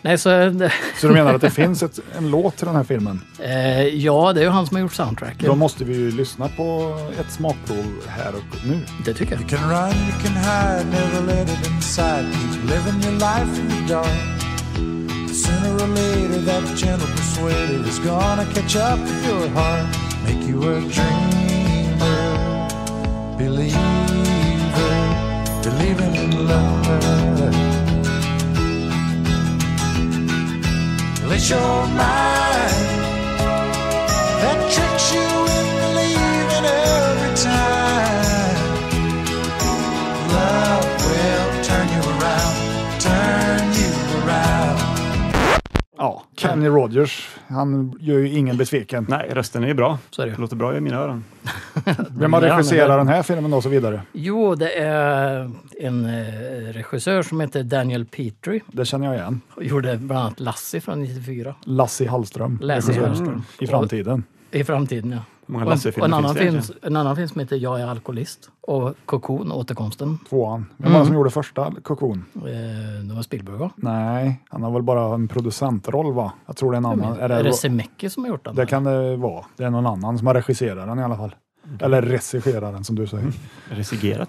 [SPEAKER 4] Nej, så... Det,
[SPEAKER 2] Så du menar att det finns ett, en låt till den här filmen?
[SPEAKER 4] eh, ja, det är ju han som har gjort soundtracket.
[SPEAKER 2] Då måste vi ju lyssna på ett smakprov här och nu.
[SPEAKER 4] Det tycker jag.
[SPEAKER 11] can run, you can hide, never let it inside. Keep living your life in the dark. Sooner or later, that gentle persuader is gonna catch up with your heart, make you a dreamer, believer, believing in love. Let your mind that tricks you in believing every time. Love will turn you around, turn you around.
[SPEAKER 2] Kenny Rogers, han gör ju ingen besviken.
[SPEAKER 3] Nej, rösten är ju bra. Så det. Låter bra i mina öron.
[SPEAKER 2] Vem har regisserat den här filmen och så vidare?
[SPEAKER 4] Jo, det är en eh, regissör som heter Daniel Petrie.
[SPEAKER 2] Det känner jag igen.
[SPEAKER 4] Och gjorde bland annat Lassie från 94.
[SPEAKER 2] Lassie Hallström.
[SPEAKER 4] Lassie
[SPEAKER 2] regissör.
[SPEAKER 4] Hallström.
[SPEAKER 2] I framtiden.
[SPEAKER 4] I framtiden, ja.
[SPEAKER 3] många
[SPEAKER 4] Och en,
[SPEAKER 3] Lasse-filmer
[SPEAKER 4] och
[SPEAKER 3] finns
[SPEAKER 4] en, annan
[SPEAKER 3] det
[SPEAKER 4] film,
[SPEAKER 3] egentligen?
[SPEAKER 4] en annan film som heter Jag är alkoholist och Cocoon, återkomsten.
[SPEAKER 2] Tvåan. Vem
[SPEAKER 4] Mm.
[SPEAKER 2] var det som gjorde första Cocoon?
[SPEAKER 4] Eh, det var Spielberg, va?
[SPEAKER 2] Nej, han har väl bara en producentroll va? Jag tror det är en annan.
[SPEAKER 4] Är det, är det
[SPEAKER 2] Ro-
[SPEAKER 4] Semecki som har gjort den?
[SPEAKER 2] det kan det vara. Det är någon annan som har regisserat den i alla fall.
[SPEAKER 4] Mm.
[SPEAKER 2] Eller regisserat den som du säger.
[SPEAKER 3] Regisserat.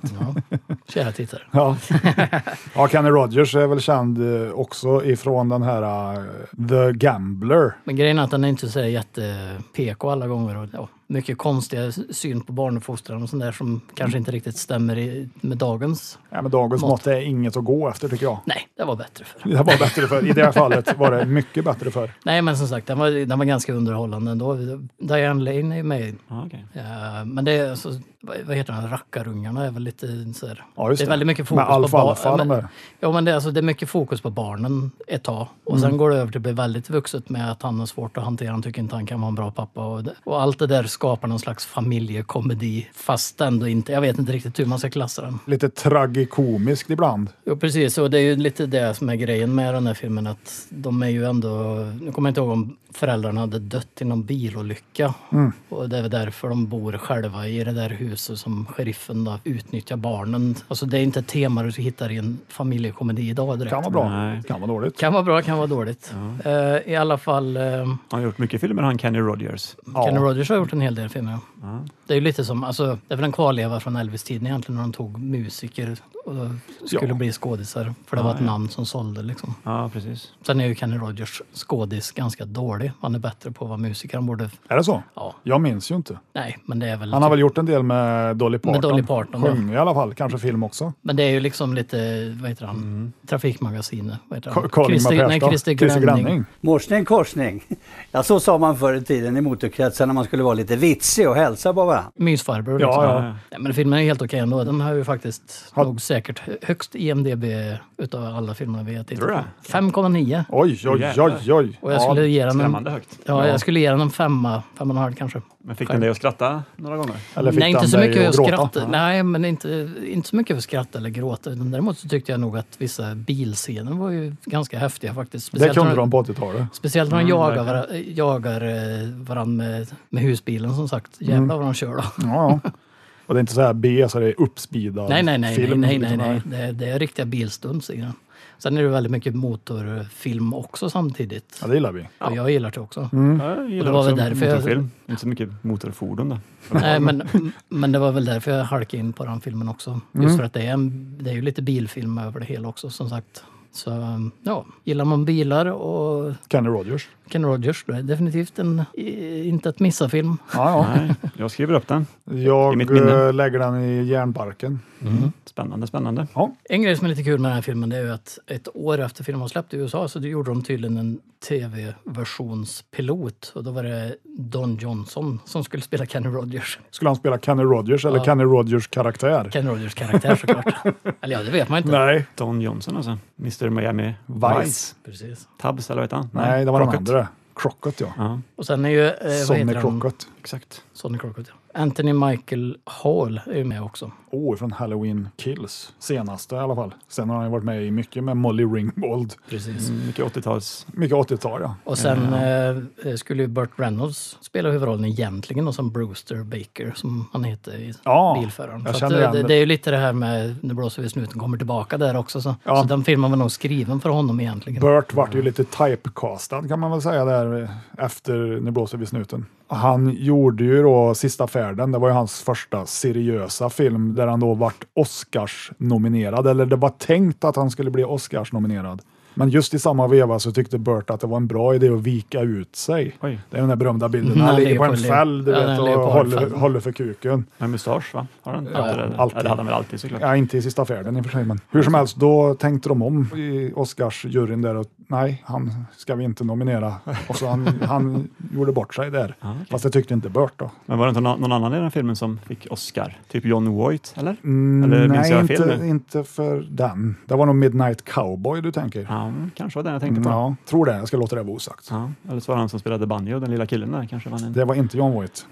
[SPEAKER 4] Kära tittare.
[SPEAKER 2] Ja. ja, Kenny Rogers är väl känd eh, också ifrån den här eh, The Gambler.
[SPEAKER 4] Men grejen är att den är inte så där jätte-PK alla gånger. Och, ja, mycket konstiga syn på barnuppfostran och sånt där som kanske inte riktigt stämmer i, med dagens.
[SPEAKER 2] Ja, men dagens
[SPEAKER 4] Mått.
[SPEAKER 2] mått är inget att gå efter tycker jag.
[SPEAKER 4] Nej, det var bättre för.
[SPEAKER 2] Det var bättre för. I det här fallet var det mycket bättre för.
[SPEAKER 4] Nej, men som sagt, den var, den var ganska underhållande ändå. Diane Lane är ju med. Eh, men det är, så, vad vad heter den, rackarungarna är väl lite så här.
[SPEAKER 2] Ja, just
[SPEAKER 4] det är
[SPEAKER 2] det.
[SPEAKER 4] väldigt mycket
[SPEAKER 2] Med
[SPEAKER 4] fokus på
[SPEAKER 2] alfalfa, de
[SPEAKER 4] barnen.
[SPEAKER 2] där.
[SPEAKER 4] Ja, men det, är alltså, det är mycket fokus på barnen ett tag. Och sen
[SPEAKER 2] Mm.
[SPEAKER 4] går det över till att bli väldigt vuxet med att han har svårt att hantera, han tycker inte han kan vara en bra pappa. Och, det, och allt det där skapar någon slags familjekomedi, fast ändå inte. Jag vet inte riktigt hur man ska klassa den.
[SPEAKER 2] Lite tragikomiskt ibland.
[SPEAKER 4] Jo, precis. Och det är ju lite det som är grejen med den här filmen. Att de är ju ändå... Nu kommer jag inte ihåg om föräldrarna hade dött i någon bilolycka.
[SPEAKER 2] Mm.
[SPEAKER 4] Och det är väl därför de bor själva i det där huset som sheriffen då utnyttjar barnen. Alltså det är inte ett tema du hittar i en familjekomedi idag direkt.
[SPEAKER 2] Kan vara bra, kan vara dåligt.
[SPEAKER 4] Kan vara bra, kan vara dåligt. Eh, I alla fall... eh,
[SPEAKER 3] Han har gjort mycket filmer han, Kenny Rogers.
[SPEAKER 4] Kenny Rogers har gjort en hel del filmer.
[SPEAKER 3] Ja.
[SPEAKER 4] Det är ju lite som, alltså, det är väl en kvarleva från Elvis-tiden egentligen när de tog musiker och skulle
[SPEAKER 3] Ja.
[SPEAKER 4] bli skådisar. För det
[SPEAKER 3] Ja,
[SPEAKER 4] var ett
[SPEAKER 3] ja.
[SPEAKER 4] namn som sålde liksom.
[SPEAKER 3] Ja, precis.
[SPEAKER 4] Sen är ju Kenny Rogers skådis ganska dålig. Han är bättre på att vara musiker. Han borde...
[SPEAKER 2] Är det så?
[SPEAKER 4] Ja.
[SPEAKER 2] Jag minns ju inte.
[SPEAKER 4] Nej, men det är väl...
[SPEAKER 2] Han har väl gjort en del med Dolly Parton.
[SPEAKER 4] Med Dolly Parton, ja.
[SPEAKER 2] Sjöng i alla fall, kanske film också.
[SPEAKER 4] Men det är ju liksom lite, vad heter han,
[SPEAKER 2] Mm.
[SPEAKER 4] Trafikmagasinet. Vad heter han?
[SPEAKER 2] Ka- Karl-Ingmar
[SPEAKER 4] Christer- nej,
[SPEAKER 2] Persson.
[SPEAKER 4] Christer
[SPEAKER 2] Christer
[SPEAKER 4] Grönning.
[SPEAKER 2] Grönning.
[SPEAKER 12] Morsning korsning. Ja, så sa man förr i tiden i motorkretsar när man skulle vara lite vitsig och hälsa på varandra.
[SPEAKER 4] Mysfarbror.
[SPEAKER 12] Ja,
[SPEAKER 4] liksom.
[SPEAKER 12] ja.
[SPEAKER 4] Nej, men filmen är helt okej ändå. Den har ju faktiskt nog säkert hö- högst IMDB utav alla filmer vi har tittat
[SPEAKER 2] Tror
[SPEAKER 4] på.
[SPEAKER 2] du
[SPEAKER 4] 5,9.
[SPEAKER 2] Oj, oj, oj, oj.
[SPEAKER 4] Och jag
[SPEAKER 3] Ja,
[SPEAKER 4] skulle ge den en,
[SPEAKER 3] skrämmande högt.
[SPEAKER 4] Ja,
[SPEAKER 3] Ja.
[SPEAKER 4] jag skulle ge den en femma, femma och en halv kanske.
[SPEAKER 3] Men fick den dig att skratta några gånger?
[SPEAKER 4] nej, inte så mycket för skratt. Nej, men inte, inte så mycket för skratt eller gråta. utan Däremot så tyckte jag nog att vissa bilscener var ju ganska häftiga faktiskt.
[SPEAKER 2] Det kunde
[SPEAKER 4] när-
[SPEAKER 2] de på 80-talet.
[SPEAKER 4] Speciellt när de
[SPEAKER 2] Mm,
[SPEAKER 4] jagar,
[SPEAKER 2] verkligen.
[SPEAKER 4] var, jagar eh, varandra med, med husbilen som sagt. Jävlar
[SPEAKER 2] Mm.
[SPEAKER 4] vad de kör då.
[SPEAKER 2] Ja, ja. Och det är inte så här B, så det är uppspeedad
[SPEAKER 4] Nej, nej, nej, nej,
[SPEAKER 2] film. liksom.
[SPEAKER 4] nej, nej, nej. Det, är- det är riktiga bilstunts i den. Sen är det väldigt mycket motorfilm också samtidigt.
[SPEAKER 2] Ja, det gillar vi.
[SPEAKER 4] Och jag gillar det också.
[SPEAKER 3] Mm. Ja, jag
[SPEAKER 4] Och
[SPEAKER 3] gillar
[SPEAKER 4] det var väl
[SPEAKER 3] också
[SPEAKER 4] därför jag,
[SPEAKER 3] motorfilm. Inte så mycket motorfordon då.
[SPEAKER 4] nej, men, men det var väl därför jag halkade in på den filmen också. Just
[SPEAKER 3] Mm.
[SPEAKER 4] för att det är, en, det är ju lite bilfilm över det hela också som sagt. Så ja, gillar man bilar och
[SPEAKER 2] Kenny Rogers.
[SPEAKER 4] Ken Rogers, då är det definitivt en i- inte att missa-film.
[SPEAKER 2] Ja, ja.
[SPEAKER 3] Nej, jag skriver upp den. I mitt
[SPEAKER 2] Jag
[SPEAKER 3] minne.
[SPEAKER 2] eh, lägger den i järnbarken.
[SPEAKER 3] Spännande, spännande.
[SPEAKER 2] Ja.
[SPEAKER 4] En grej som är lite kul med den här filmen det är ju att ett år efter filmen var släppt i USA så gjorde de tydligen en tv-versionspilot. Och då var det Don Johnson som skulle spela Kenny Rogers.
[SPEAKER 2] Skulle han spela Kenny Rogers eller
[SPEAKER 4] Ja.
[SPEAKER 2] Kenny Rogers karaktär?
[SPEAKER 4] Kenny Rogers karaktär såklart. Eller ja, det vet man inte.
[SPEAKER 2] Nej.
[SPEAKER 3] Don Johnson alltså. Mr Miami
[SPEAKER 2] Vice.
[SPEAKER 3] Vice.
[SPEAKER 4] Precis.
[SPEAKER 3] Tabs eller vad hette han?
[SPEAKER 2] Nej, det var den
[SPEAKER 3] Crockett.
[SPEAKER 2] andra. Crockett, ja.
[SPEAKER 3] Ja.
[SPEAKER 4] Och sen är ju... Eh, vad
[SPEAKER 2] Sonny
[SPEAKER 4] heter han?
[SPEAKER 2] Crockett.
[SPEAKER 3] Exakt.
[SPEAKER 4] Sonny Crockett, ja. Anthony Michael Hall är ju med också.
[SPEAKER 2] Åh, från Halloween Kills. Senaste i alla fall. Sen har han ju varit med i mycket med Molly Ringwald.
[SPEAKER 4] Precis.
[SPEAKER 3] Mm, Mycket 80-tals.
[SPEAKER 2] Mycket 80-tal, ja.
[SPEAKER 4] Och sen eh, skulle ju Burt Reynolds spela huvudrollen egentligen och som Brewster Baker som han heter i
[SPEAKER 2] Ja,
[SPEAKER 4] bilföraren.
[SPEAKER 2] jag
[SPEAKER 4] Så att,
[SPEAKER 2] känner
[SPEAKER 4] eh,
[SPEAKER 2] igen
[SPEAKER 4] det,
[SPEAKER 2] det.
[SPEAKER 4] det är ju lite det här med Nu blåser vi i snuten kommer tillbaka där också. Så,
[SPEAKER 2] Ja.
[SPEAKER 4] så den filmen var nog skriven för honom egentligen.
[SPEAKER 2] Burt vart ju lite typecastad kan man väl säga där eh, efter Nu blåser vi snuten. Han gjorde ju då Sista färden, det var ju hans första seriösa film där han då vart Oscars-nominerad, eller det var tänkt att han skulle bli Oscars-nominerad. Men just i samma veva så tyckte Burt att det var en bra idé att vika ut sig.
[SPEAKER 3] Oj.
[SPEAKER 2] Det är den där berömda bilden
[SPEAKER 3] Mm,
[SPEAKER 2] när han
[SPEAKER 3] han
[SPEAKER 2] ligger på
[SPEAKER 3] ligger
[SPEAKER 2] en
[SPEAKER 3] på le-
[SPEAKER 2] fäll du
[SPEAKER 3] ja,
[SPEAKER 2] vet,
[SPEAKER 3] han
[SPEAKER 2] och
[SPEAKER 3] ligger på
[SPEAKER 2] håller,
[SPEAKER 3] fällen.
[SPEAKER 2] håller för kuken.
[SPEAKER 3] Med mustasch va? Har han?
[SPEAKER 2] Ja,
[SPEAKER 3] eller,
[SPEAKER 2] alltid.
[SPEAKER 3] eller hade han väl alltid såklart.
[SPEAKER 2] Ja, inte i sista färden i och för sig, men hur som helst, då tänkte de om i Oscarsjuryn där och nej, han ska vi inte nominera. Och så han, han gjorde bort sig där. Fast det tyckte inte Burt då.
[SPEAKER 3] Men var det inte någon någon annan i den filmen som fick Oscar? Typ John Voight eller?
[SPEAKER 2] Mm,
[SPEAKER 3] eller minns
[SPEAKER 2] nej,
[SPEAKER 3] jag fel
[SPEAKER 2] inte,
[SPEAKER 3] nu?
[SPEAKER 2] inte för den. Det var nog Midnight Cowboy du tänker.
[SPEAKER 3] Ja, mm, kanske var den jag tänkte på.
[SPEAKER 2] Ja, tror det. Jag ska låta det vara osagt.
[SPEAKER 3] Ja, eller så var det han som spelade banjo, den lilla killen där. Kanske var en...
[SPEAKER 2] Det var inte John Voight.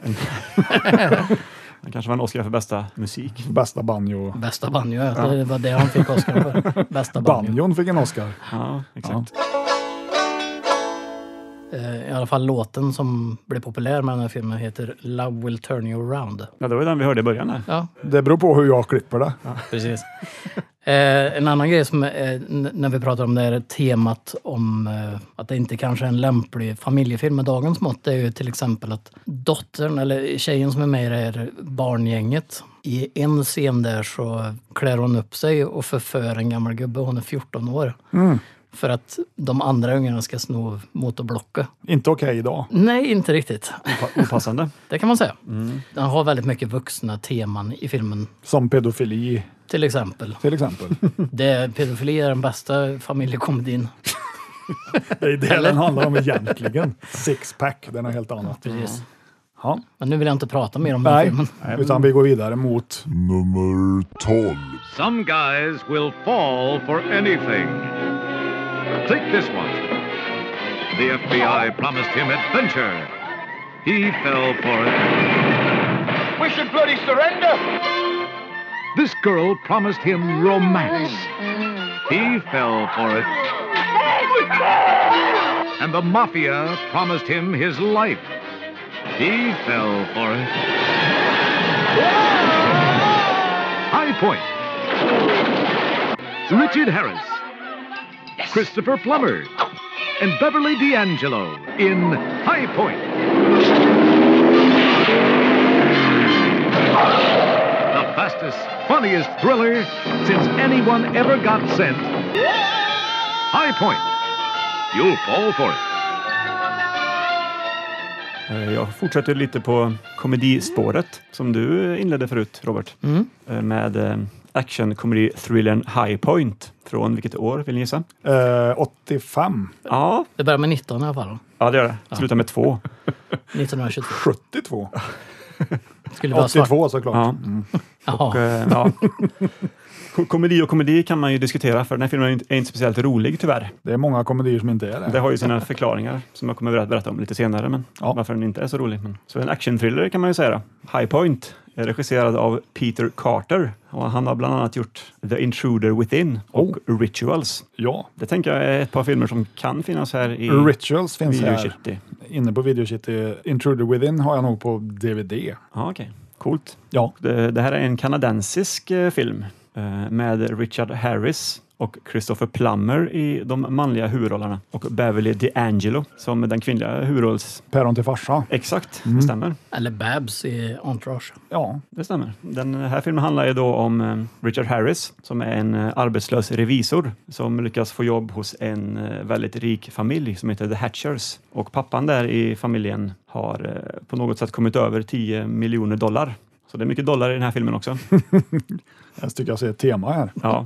[SPEAKER 3] Han kanske vann Oscar för bästa musik.
[SPEAKER 2] Bästa banjo.
[SPEAKER 4] Bästa banjo, ja. det var det han fick Oscar för. Bästa banjo.
[SPEAKER 2] Banjon fick en Oscar.
[SPEAKER 3] Ja, exakt.
[SPEAKER 4] Eh, I alla fall låten som blev populär med den här filmen heter Love will turn you around.
[SPEAKER 3] Ja, det var ju den vi hörde i början där.
[SPEAKER 4] Ja,
[SPEAKER 2] Det beror på hur jag klipper det.
[SPEAKER 4] precis. Eh, en annan grej som eh, n- när vi pratar om det här temat om eh, att det inte kanske är en lämplig familjefilm med dagens mått, det är ju till exempel att dottern eller tjejen som är med i det här barngänget, i en scen där så klär hon upp sig och förför en gammal gubbe, hon är 14 år.
[SPEAKER 2] Mm.
[SPEAKER 4] För att de andra ungarna ska sno motorblocket.
[SPEAKER 2] Inte okej idag.
[SPEAKER 4] Nej, inte riktigt.
[SPEAKER 3] Opassande.
[SPEAKER 4] Det kan man säga.
[SPEAKER 3] Mm.
[SPEAKER 4] Den har väldigt mycket vuxna teman i filmen,
[SPEAKER 2] Som pedofili
[SPEAKER 4] till exempel.
[SPEAKER 2] till exempel.
[SPEAKER 4] Det, pedofili är den bästa familjekomedin.
[SPEAKER 2] Det är det den handlar om egentligen. Sixpack, den är helt annat.
[SPEAKER 4] Precis.
[SPEAKER 2] Ja.
[SPEAKER 4] Men nu vill jag inte prata mer om den
[SPEAKER 2] Nej,
[SPEAKER 4] filmen.
[SPEAKER 2] utan vi går vidare mot...
[SPEAKER 5] Nummer 12.
[SPEAKER 13] Some guys will fall for anything. Take this one. The FBI promised him adventure. He fell for it. We should bloody surrender. This girl promised him romance. He fell for it. And the mafia promised him his life. He fell for it. High Point. Richard Harris. Christopher Plummer. And Beverly D'Angelo in High Point. The fastest, funniest thriller since anyone ever got sent. High Point. You'll fall for it.
[SPEAKER 3] Eh, Jag fortsätter lite på komedispåret som du inledde förut, Robert.
[SPEAKER 4] Mm.
[SPEAKER 3] Eh, Med eh, actionkomedi-thrillern High Point. Från vilket år vill ni gissa?
[SPEAKER 2] Eh, 85,
[SPEAKER 3] Ja,
[SPEAKER 4] Det börjar med 19 i alla fall.
[SPEAKER 3] ja det gör det. Slutar med två.
[SPEAKER 2] 72,
[SPEAKER 4] 1922. Skulle vara svart.
[SPEAKER 2] 82 såklart.
[SPEAKER 3] Ja. Mm.
[SPEAKER 4] Jaha.
[SPEAKER 3] Och, eh, ja. Ko- Komedi och komedi kan man ju diskutera, för den här filmen är inte- är inte speciellt rolig tyvärr.
[SPEAKER 2] Det är många komedier som inte är det.
[SPEAKER 3] Det har ju sina förklaringar som jag kommer att berätta om lite senare, men
[SPEAKER 2] Ja.
[SPEAKER 3] varför den inte är så rolig. Men, så en actionthriller kan man ju säga. då. High Point är regisserad av Peter Carter och han har bland annat gjort The Intruder Within och
[SPEAKER 2] Oh.
[SPEAKER 3] Rituals.
[SPEAKER 2] Ja,
[SPEAKER 3] Det tänker jag är ett par filmer som kan finnas här i
[SPEAKER 2] Rituals finns
[SPEAKER 3] Video
[SPEAKER 2] här.
[SPEAKER 3] City.
[SPEAKER 2] Inne på Video City. Intruder Within har jag nog på DVD.
[SPEAKER 3] Ja, okej. Coolt.
[SPEAKER 2] Ja,
[SPEAKER 3] Det, det här är en kanadensisk eh, film eh, med Richard Harris och Christopher Plummer i de manliga huvudrollerna och Beverly D'Angelo som den kvinnliga huvudrolls...
[SPEAKER 2] Päron till farsa.
[SPEAKER 3] Exakt,
[SPEAKER 2] Mm.
[SPEAKER 3] det stämmer.
[SPEAKER 4] Eller Babs i Entourage.
[SPEAKER 2] Ja,
[SPEAKER 3] Det stämmer. Den här filmen handlar ju då om eh, Richard Harris som är en eh, arbetslös revisor som lyckas få jobb hos en eh, väldigt rik familj som heter The Hatchers. Och pappan där i familjen har eh, på något sätt kommit över 10 miljoner dollar. Så det är mycket dollar i den här filmen också.
[SPEAKER 2] jag tycker jag ser ett tema här.
[SPEAKER 3] Ja.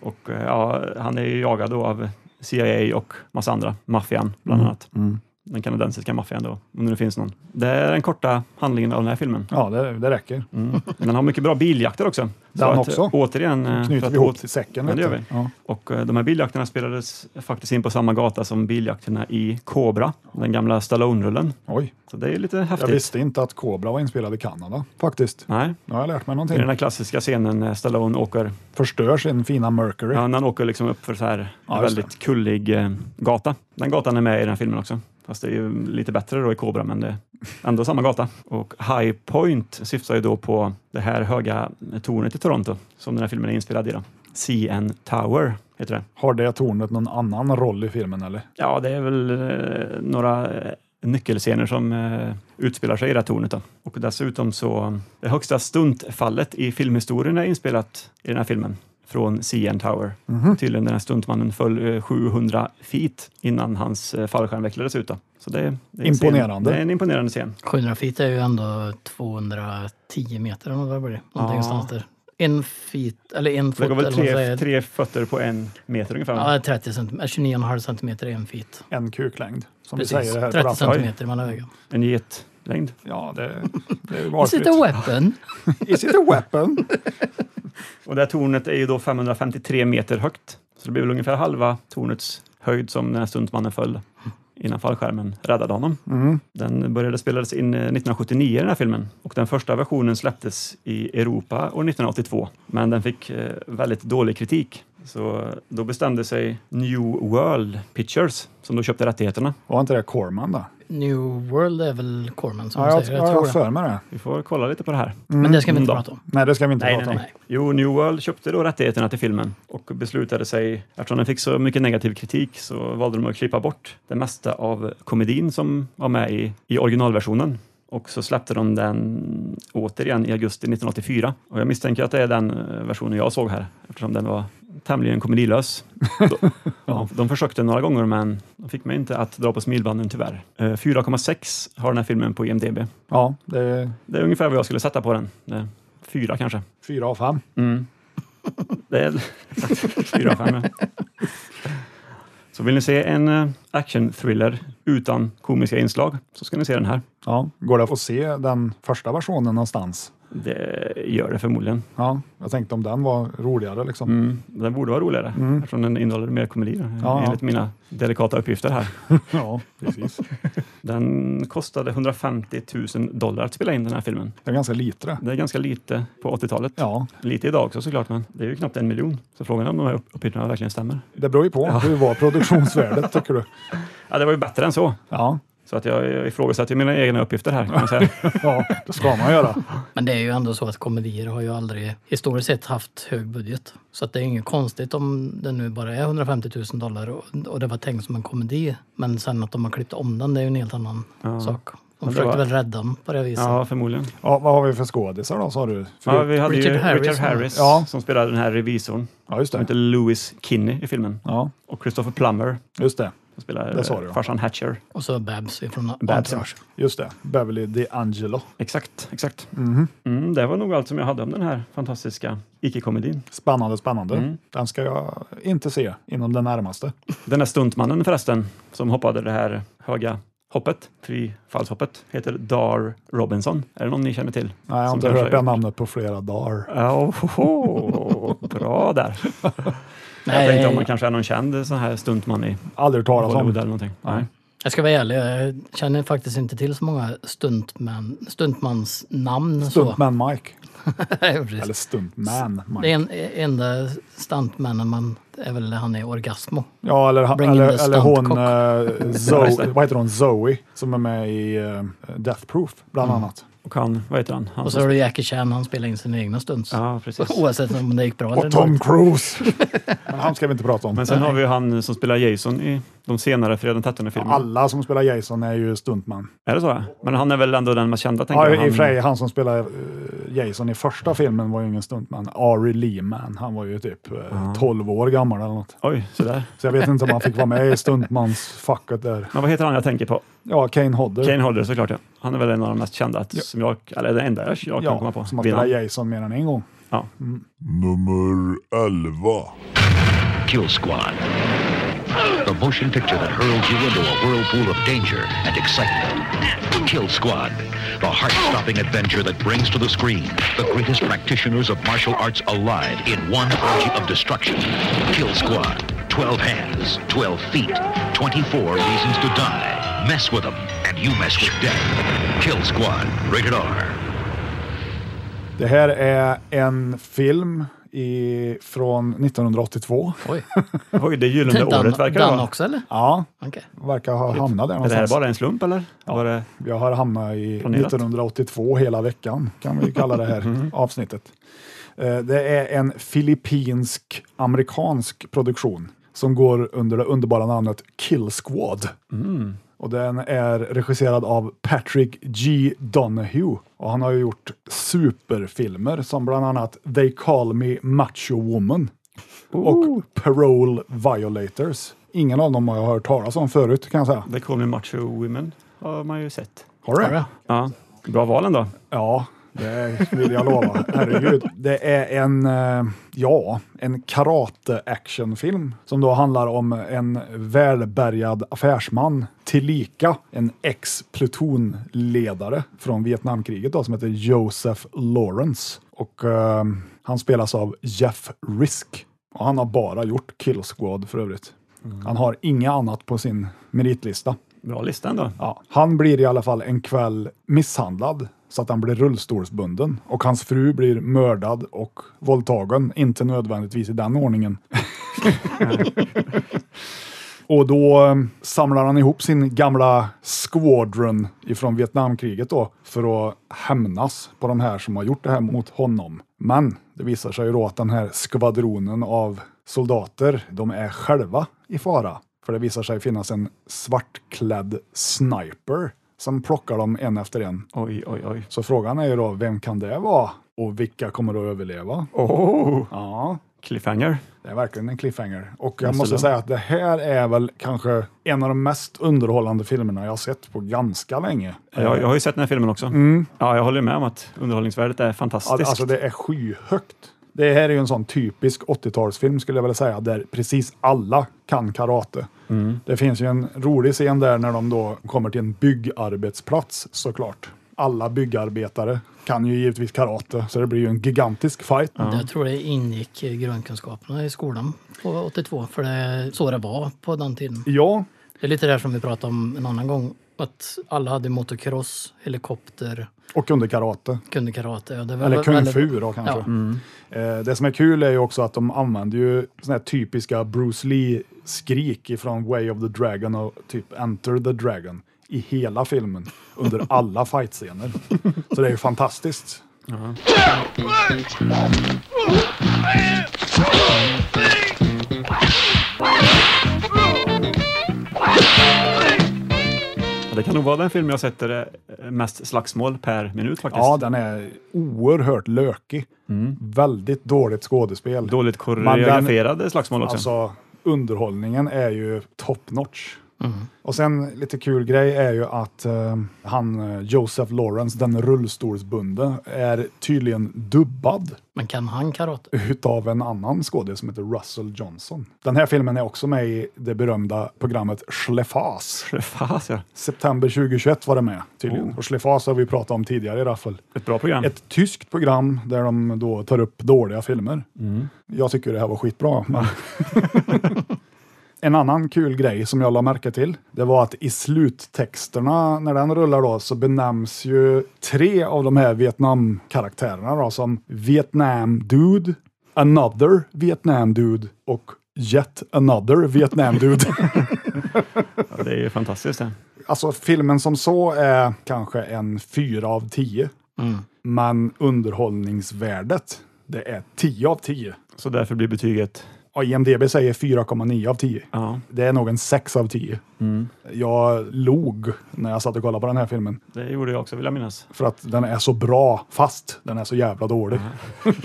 [SPEAKER 3] Och eh, ja, han är ju jagad då av CIA och massa andra, maffian bland annat.
[SPEAKER 2] Mm.
[SPEAKER 3] Den kanadensiska maffian då, om det nu finns någon. Det är den korta handlingen av den här filmen.
[SPEAKER 2] Ja, det, det räcker.
[SPEAKER 3] Mm. Men den har mycket bra biljakter också. Så
[SPEAKER 2] Den
[SPEAKER 3] att,
[SPEAKER 2] också.
[SPEAKER 3] Återigen, eh, för
[SPEAKER 2] Knyter
[SPEAKER 3] att
[SPEAKER 2] vi ihop
[SPEAKER 3] åt-
[SPEAKER 2] till säcken
[SPEAKER 3] Ja, det
[SPEAKER 2] lite.
[SPEAKER 3] gör vi.
[SPEAKER 2] Ja.
[SPEAKER 3] Och eh, de här biljakterna spelades faktiskt in på samma gata som biljakterna i Cobra, den gamla Stallone-rullen.
[SPEAKER 2] Oj,
[SPEAKER 3] Så det är lite
[SPEAKER 2] jag
[SPEAKER 3] häftigt.
[SPEAKER 2] visste inte att Cobra var inspelad i Kanada faktiskt.
[SPEAKER 3] Nej,
[SPEAKER 2] Nu har jag lärt mig
[SPEAKER 3] det är den
[SPEAKER 2] någonting.
[SPEAKER 3] här klassiska scenen när Stallone åker,
[SPEAKER 2] Förstör sin fina Mercury.
[SPEAKER 3] ja, när han åker liksom upp för så här
[SPEAKER 2] Ja,
[SPEAKER 3] en
[SPEAKER 2] just
[SPEAKER 3] väldigt kullig eh, gata. Den gatan är med i den här filmen också. Fast det är ju lite bättre då i Cobra, men det är ändå samma gata. Och High Point syftar ju då på det här höga tornet i Toronto som den här filmen är inspelad i. Då. CN Tower heter det.
[SPEAKER 2] Har det tornet någon annan roll i filmen eller?
[SPEAKER 3] Ja, det är väl eh, några eh, nyckelscener som eh, utspelar sig i det här tornet. Då. Och dessutom så, eh, det högsta stuntfallet i filmhistorien är inspelat i den här filmen från CN Tower.
[SPEAKER 2] Mhm.
[SPEAKER 3] Tydligen den här stuntmannen föll eh, 700 feet innan hans eh, fallskärm vecklades ut. Då. Så det, det är en scen-
[SPEAKER 2] Imponerande.
[SPEAKER 3] Det är en imponerande scen.
[SPEAKER 4] 700 feet är ju ändå 210 meter eller vad det blir. Någonting
[SPEAKER 3] Ja.
[SPEAKER 4] någonstans där. En feet, eller en
[SPEAKER 3] Så det
[SPEAKER 4] fot.
[SPEAKER 3] går väl
[SPEAKER 4] eller vad man
[SPEAKER 3] tre,
[SPEAKER 4] säger.
[SPEAKER 3] tre fötter på en meter ungefär.
[SPEAKER 4] Ja, 30 centimeter, 29,5 centimeter är en feet.
[SPEAKER 2] En kuklängd. Som vi
[SPEAKER 4] Precis,
[SPEAKER 2] säger här
[SPEAKER 4] 30
[SPEAKER 2] på rasten.
[SPEAKER 4] centimeter mellan ögonen.
[SPEAKER 3] En getlängd.
[SPEAKER 2] Ja, det, det är
[SPEAKER 4] Is
[SPEAKER 2] valfritt.
[SPEAKER 4] it a weapon?
[SPEAKER 2] Is it a weapon?
[SPEAKER 3] Och det här tornet är ju då 553 meter högt. Så Så det blir väl ungefär halva tornets höjd som när stuntmannen föll innan fallskärmen räddade honom.
[SPEAKER 2] Mm.
[SPEAKER 3] Den började spelas in eh, 1979, den här filmen. Och den första versionen släpptes i Europa år 1982. Men den fick eh, väldigt dålig kritik. Så då bestämde sig New World Pictures, som då köpte rättigheterna.
[SPEAKER 2] Var inte det Corman då?
[SPEAKER 4] New World är väl Corman som
[SPEAKER 2] Ja, jag,
[SPEAKER 4] säger?
[SPEAKER 2] jag, jag har för
[SPEAKER 4] det.
[SPEAKER 2] mig det.
[SPEAKER 3] Vi får kolla lite på det här.
[SPEAKER 4] Men det ska vi inte
[SPEAKER 3] Mm, då.
[SPEAKER 4] prata om.
[SPEAKER 2] Nej, det ska vi inte
[SPEAKER 3] Nej,
[SPEAKER 2] prata
[SPEAKER 3] nej, nej. Jo, New World köpte då rättigheterna till filmen och beslutade sig, eftersom den fick så mycket negativ kritik, så valde de att klippa bort det mesta av komedin som var med i, i originalversionen. Och så släppte de den återigen i augusti 1984. Och jag misstänker att det är den eh, versionen jag såg här, eftersom den var tämligen komedilös. De, ja, de försökte några gånger, men de fick mig inte att dra på smilbanden tyvärr. Eh, 4,6 har den här filmen på IMDB.
[SPEAKER 2] om. Ja, det är
[SPEAKER 3] Det är ungefär vad jag skulle sätta på den. Eh, Fyra kanske.
[SPEAKER 2] fyra av fem.
[SPEAKER 3] Mm. Det är fyra av fem. ja. Så vill ni se en eh, action-thriller utan komiska inslag så ska ni se den här.
[SPEAKER 2] Ja, går det att se den första versionen någonstans?
[SPEAKER 3] Det gör det förmodligen.
[SPEAKER 2] Ja, jag tänkte om den var roligare liksom.
[SPEAKER 3] Mm. Den borde vara roligare
[SPEAKER 2] Mm.
[SPEAKER 3] eftersom den innehåller mer komedi då,
[SPEAKER 2] Ja, ja.
[SPEAKER 3] enligt mina delikata uppgifter här.
[SPEAKER 2] Ja, precis.
[SPEAKER 3] Den kostade 150 000 dollar att spela in den här filmen.
[SPEAKER 2] Det är ganska lite det.
[SPEAKER 3] Det är ganska lite på 80-talet.
[SPEAKER 2] Ja,
[SPEAKER 3] Lite idag också såklart, men det är ju knappt en miljon. Så frågan är om de här upp- uppgifterna verkligen stämmer.
[SPEAKER 2] det beror ju på. Hur var produktionsvärdet tycker du?
[SPEAKER 3] Ja, det var ju bättre än så.
[SPEAKER 2] Ja,
[SPEAKER 3] Så att jag jag ifrågasätter mina egna uppgifter här. Kan man säga.
[SPEAKER 2] ja det ska man göra.
[SPEAKER 4] Men det är ju ändå så att komedier har ju aldrig historiskt sett haft hög budget. Så att det är inget konstigt om det nu bara är 150 000 dollar och, och det var tänkt som en komedi. Men sen att de har klippt om den, det är ju en helt annan
[SPEAKER 3] Ja.
[SPEAKER 4] sak. De
[SPEAKER 3] det
[SPEAKER 4] försökte
[SPEAKER 3] var-
[SPEAKER 4] väl rädda den på det viset.
[SPEAKER 3] Ja, förmodligen.
[SPEAKER 2] Ja, vad har vi för skådisar då sa du?
[SPEAKER 3] Ja, vi hade
[SPEAKER 4] Richard
[SPEAKER 3] ju
[SPEAKER 4] Harris.
[SPEAKER 3] Richard Harris
[SPEAKER 2] Ja.
[SPEAKER 3] som spelade den här revisorn.
[SPEAKER 2] Ja, just
[SPEAKER 3] Som
[SPEAKER 2] det.
[SPEAKER 3] heter Louis Kinney i filmen.
[SPEAKER 2] Ja,
[SPEAKER 3] Och Christopher Plummer
[SPEAKER 2] just det.
[SPEAKER 3] som spelar
[SPEAKER 2] Det sa du,
[SPEAKER 3] eh,
[SPEAKER 2] ja.
[SPEAKER 3] farsan Hatcher.
[SPEAKER 4] Och så Babs ifrån
[SPEAKER 3] Babs, ja.
[SPEAKER 4] Entourage.
[SPEAKER 2] Just det. Beverly DeAngelo.
[SPEAKER 3] Exakt, exakt.
[SPEAKER 2] Mhm.
[SPEAKER 3] Mm, det var nog allt som jag hade om den här fantastiska icke-komedin.
[SPEAKER 2] Spännande, spännande.
[SPEAKER 3] Mm.
[SPEAKER 2] Den ska jag inte se inom den närmaste.
[SPEAKER 3] Den där stuntmannen förresten, som hoppade det här höga hoppet, frifallshoppet, heter Dar Robinson. Är det någon ni känner till?
[SPEAKER 2] Nej, jag har
[SPEAKER 3] Som
[SPEAKER 2] inte
[SPEAKER 3] kanske
[SPEAKER 2] hört det
[SPEAKER 3] gjort-
[SPEAKER 2] namnet på flera dagar.
[SPEAKER 3] Ja, ohoho, bra där. Jag tänkte om man kanske är någon känd sån här stuntman i
[SPEAKER 2] Aldrig hört talas
[SPEAKER 3] Hollywood
[SPEAKER 2] om.
[SPEAKER 3] eller någonting. Nej.
[SPEAKER 4] Jag ska vara ärlig, jag känner faktiskt inte till så många stuntmän, stuntmans namn.
[SPEAKER 2] Stuntman Mike.
[SPEAKER 4] Så. Ja, precis.
[SPEAKER 2] Eller stuntman Mike.
[SPEAKER 4] det är en, enda stuntmannen man är väl han är Orgasmo.
[SPEAKER 2] Ja, eller,
[SPEAKER 4] Bring in the
[SPEAKER 2] eller, eller hon,
[SPEAKER 4] stuntcock.
[SPEAKER 2] eh,
[SPEAKER 3] Ja, just det.
[SPEAKER 2] Zoe, vad heter hon, Zoe, som är med i eh, Death Proof, bland
[SPEAKER 3] Mm.
[SPEAKER 2] annat.
[SPEAKER 3] Och han, vad heter han? han
[SPEAKER 4] Och så har du Jackie Chan, han spelar in sina egna stunts.
[SPEAKER 3] Ja, precis.
[SPEAKER 4] Oavsett om det gick bra eller
[SPEAKER 2] Och Tom
[SPEAKER 4] dåligt.
[SPEAKER 2] Cruise! Men han ska vi inte prata om.
[SPEAKER 3] Men sen har vi ju han som spelar Jason i de senare Fredag den 13 filmerna.
[SPEAKER 2] Alla som spelar Jason är ju stuntman.
[SPEAKER 3] Är det så? ja? Men han är väl ändå den mest kända, tänker
[SPEAKER 2] Ja, i
[SPEAKER 3] jag.
[SPEAKER 2] och för sig,
[SPEAKER 3] Han,
[SPEAKER 2] han som spelar eh, Jason i första filmen var ju ingen stuntman. Ari Lehman, han var ju typ eh, 12 år gammal eller något.
[SPEAKER 3] oj, sådär.
[SPEAKER 2] Så jag vet inte om han fick vara med i stuntmansfacket där.
[SPEAKER 3] Men vad heter han jag tänker på?
[SPEAKER 2] Ja, Kane Hodder.
[SPEAKER 3] Kane Hodder såklart, ja. Han är väl en av de mest kända, att- som jag, eller den enda jag, jag kan komma på.
[SPEAKER 2] ja, som har
[SPEAKER 3] Vinnaren.
[SPEAKER 2] spelat Jason mer än en gång.
[SPEAKER 3] Ja.
[SPEAKER 5] Nummer 11.
[SPEAKER 8] Kill Squad. The motion picture that hurls you into a whirlpool of danger and excitement. Kill Squad. The heart-stopping adventure that brings to the screen the greatest practitioners of martial arts alive in one orgy of destruction. Kill Squad. 12 hands, 12 feet, 24 reasons to die. Mess with them, and you mess with death. Kill Squad. Rated R.
[SPEAKER 2] Det här är en film i, från 1982.
[SPEAKER 4] Oj.
[SPEAKER 3] Oj, det gyllene året verkar det
[SPEAKER 4] Dan
[SPEAKER 3] vara.
[SPEAKER 4] också eller?
[SPEAKER 2] Ja,
[SPEAKER 4] Okej.
[SPEAKER 2] verkar ha hamnat där
[SPEAKER 3] Är det här
[SPEAKER 2] någonstans.
[SPEAKER 3] bara en slump eller? Var det,
[SPEAKER 2] Jag har hamnat i
[SPEAKER 3] Planerat.
[SPEAKER 2] 1982 hela veckan, kan vi kalla det här avsnittet. Eh, Det är en filippinsk-amerikansk produktion som går under det underbara namnet Kill Squad. Och den är regisserad av Patrick G. Donahue. Och han har ju gjort superfilmer som bland annat They Call Me Macho Woman och Parole Violators. Ingen av dem har jag hört talas om förut kan jag säga.
[SPEAKER 3] det kom ju Macho Women, har man ju sett.
[SPEAKER 2] Har du?
[SPEAKER 4] Har du?
[SPEAKER 3] Ja. Bra val ändå.
[SPEAKER 2] Ja, det vill jag lova. Herregud. Det är en, eh, ja, en karate-actionfilm som då handlar om en välbärgad affärsman, tillika en ex-plutonledare från Vietnamkriget då, som heter Joseph Lawrence. Och eh, han spelas av Jeff Risk. Och han har bara gjort Kill Squad för övrigt. Han har inget annat på sin meritlista.
[SPEAKER 3] Bra lista ändå.
[SPEAKER 2] Ja. Han blir i alla fall en kväll misshandlad så att han blir rullstolsbunden och hans fru blir mördad och våldtagen. Inte nödvändigtvis i den ordningen. och då eh, samlar han ihop sin gamla squadron ifrån Vietnamkriget då för att hämnas på de här som har gjort det här mot honom. Men det visar sig ju då att den här skvadronen av soldater, de är själva i fara. För det visar sig finnas en svartklädd sniper som plockar dem en efter en.
[SPEAKER 3] Oj, oj, oj.
[SPEAKER 2] Så frågan är ju då, vem kan det vara? Och vilka kommer att överleva?
[SPEAKER 3] Oh.
[SPEAKER 2] Ja.
[SPEAKER 3] Cliffhanger.
[SPEAKER 2] Det är verkligen en cliffhanger. Och jag
[SPEAKER 3] Just
[SPEAKER 2] måste
[SPEAKER 3] det.
[SPEAKER 2] säga att det här är väl kanske en av de mest underhållande filmerna jag har sett på ganska länge.
[SPEAKER 3] Jag, jag har ju sett den här filmen också.
[SPEAKER 2] Mm.
[SPEAKER 3] Ja, jag håller med om att underhållningsvärdet är fantastiskt.
[SPEAKER 2] Alltså det är skyhögt. Det här är ju en sån typisk 80-talsfilm skulle jag vilja säga, där precis alla kan karate.
[SPEAKER 3] Mm.
[SPEAKER 2] Det finns ju en rolig scen där när de då kommer till en byggarbetsplats såklart. Alla byggarbetare kan ju givetvis karate, så det blir ju en gigantisk fight.
[SPEAKER 4] Jag tror det ingick i grundkunskaperna i skolan på 82, för det är så det var på den tiden.
[SPEAKER 2] Ja.
[SPEAKER 4] Det är lite det här som vi pratade om en annan gång, att alla hade motocross, helikopter,
[SPEAKER 2] Och under karate.
[SPEAKER 4] kunde karate. och det var
[SPEAKER 2] Eller
[SPEAKER 4] väl-
[SPEAKER 2] kung fu då kanske.
[SPEAKER 4] Ja.
[SPEAKER 2] Eh, Det som är kul är ju också att de använder ju såna här typiska Bruce Lee-skrik ifrån Way of the Dragon och typ Enter the Dragon i hela filmen under alla fightscener. Så det är ju fantastiskt.
[SPEAKER 3] Ja, Det kan nog vara den film jag sett där det är mest slagsmål per minut faktiskt.
[SPEAKER 2] Ja, den är oerhört lökig. Väldigt dåligt skådespel.
[SPEAKER 3] Dåligt
[SPEAKER 2] Men den-
[SPEAKER 3] koreograferade slagsmål också.
[SPEAKER 2] Alltså, underhållningen är ju top notch. Och sen lite kul grej är ju att eh, han eh, Joseph Lawrence, den rullstolsbundne, är tydligen dubbad
[SPEAKER 4] Men kan han karate?
[SPEAKER 2] utav en annan skådespelare som heter Russell Johnson. Den här filmen är också med i det berömda programmet Schlefas.
[SPEAKER 3] Schlefas, ja.
[SPEAKER 2] September 2021 var det med tydligen. Och Schlefas har vi pratat om tidigare i Raffel.
[SPEAKER 3] Ett bra program.
[SPEAKER 2] Ett tyskt program där de då tar upp dåliga filmer.
[SPEAKER 3] Mm.
[SPEAKER 2] Jag tycker det här var skitbra. Men... en annan kul grej som jag la märke till, det var att i sluttexterna, när den rullar då, så benämns ju tre av de här Vietnam-karaktärerna då, som Vietnam Dude, Another Vietnam Dude och Yet Another Vietnam Dude.
[SPEAKER 3] Ja, det är ju fantastiskt det.
[SPEAKER 2] alltså filmen som så är kanske en fyra av tio,
[SPEAKER 3] Mm.
[SPEAKER 2] men underhållningsvärdet, det är 10 av 10.
[SPEAKER 3] Så därför blir betyget...
[SPEAKER 2] Ja, IMDB säger 4,9 av 10.
[SPEAKER 3] Ja.
[SPEAKER 2] Det är nog en 6 av 10.
[SPEAKER 3] Mm.
[SPEAKER 2] Jag log när jag satt och kollade på den här filmen
[SPEAKER 3] Det gjorde jag också vill jag minnas.
[SPEAKER 2] för att den är så bra, fast den är så jävla dålig.
[SPEAKER 3] Mm.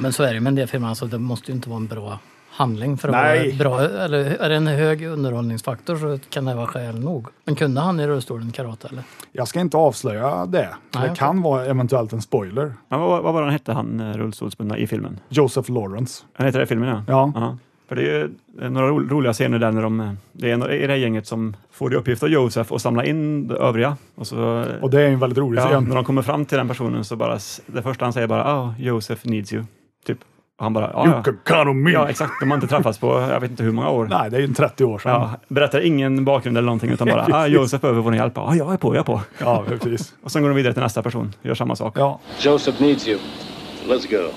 [SPEAKER 4] Men så är det med en del filmer, alltså, det måste ju inte vara en bra handling för att
[SPEAKER 2] Nej.
[SPEAKER 4] vara bra. Eller är det en hög underhållningsfaktor så kan det vara skäl nog. Men kunde han i rullstolen karate eller?
[SPEAKER 2] Jag ska inte avslöja det. för
[SPEAKER 4] Nej,
[SPEAKER 2] det
[SPEAKER 4] okej.
[SPEAKER 2] kan vara eventuellt en spoiler.
[SPEAKER 3] Men vad, vad var han hette, han eh, rullstolsbundna i filmen?
[SPEAKER 2] Joseph Lawrence.
[SPEAKER 3] Han heter det i filmen, ja.
[SPEAKER 2] Ja.
[SPEAKER 3] För det är ju eh, några ro- roliga scener där när de, eh, det är några i det här gänget som får i uppgift av Josef att samla in de övriga. Och, så, eh,
[SPEAKER 2] Och det är en väldigt rolig
[SPEAKER 3] ja,
[SPEAKER 2] scen.
[SPEAKER 3] när de kommer fram till den personen så bara, s- det första han säger bara oh, Josef needs you. Typ. Och han bara,
[SPEAKER 2] You
[SPEAKER 3] ja, ja.
[SPEAKER 2] can count on me.
[SPEAKER 3] ja exakt, de har inte träffats på jag vet inte hur många år.
[SPEAKER 2] Nej, det är ju en 30 år sedan.
[SPEAKER 3] Ja, berättar ingen bakgrund eller någonting utan bara, ah, Josef behöver vår hjälp. Ja, jag är på, jag är på.
[SPEAKER 2] Ja, precis.
[SPEAKER 3] Och sen går de vidare till nästa person, gör samma sak.
[SPEAKER 2] Ja.
[SPEAKER 14] Joseph needs you. Let's go.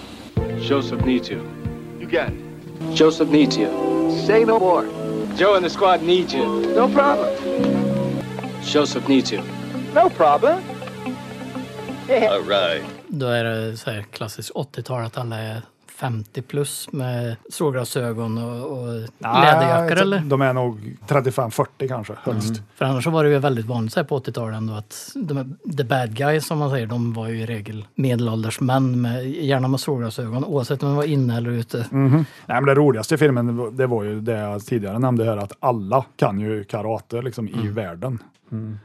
[SPEAKER 14] Joseph needs you.
[SPEAKER 7] You got it.
[SPEAKER 14] Joseph needs you.
[SPEAKER 7] Say no more.
[SPEAKER 14] Joe and the squad need you.
[SPEAKER 7] No problem.
[SPEAKER 14] Joseph needs you.
[SPEAKER 7] No problem.
[SPEAKER 14] All right.
[SPEAKER 4] Då är det så här klassiskt 80-tal att alla är 50 plus med såglasögon och, och läderjackor
[SPEAKER 2] Nej,
[SPEAKER 4] eller? Mm.
[SPEAKER 2] De är nog 35-40 kanske, högst.
[SPEAKER 4] För annars så var det ju väldigt vanligt så här på 80-talet ändå att de, the bad guys som man säger, de var ju i regel medelålders män, med, gärna med solglasögon oavsett om de var inne eller ute.
[SPEAKER 2] Mhm. Nej, men det roligaste i filmen det var ju det jag tidigare nämnde här, att alla kan ju karate liksom,
[SPEAKER 4] Mm.
[SPEAKER 2] i världen.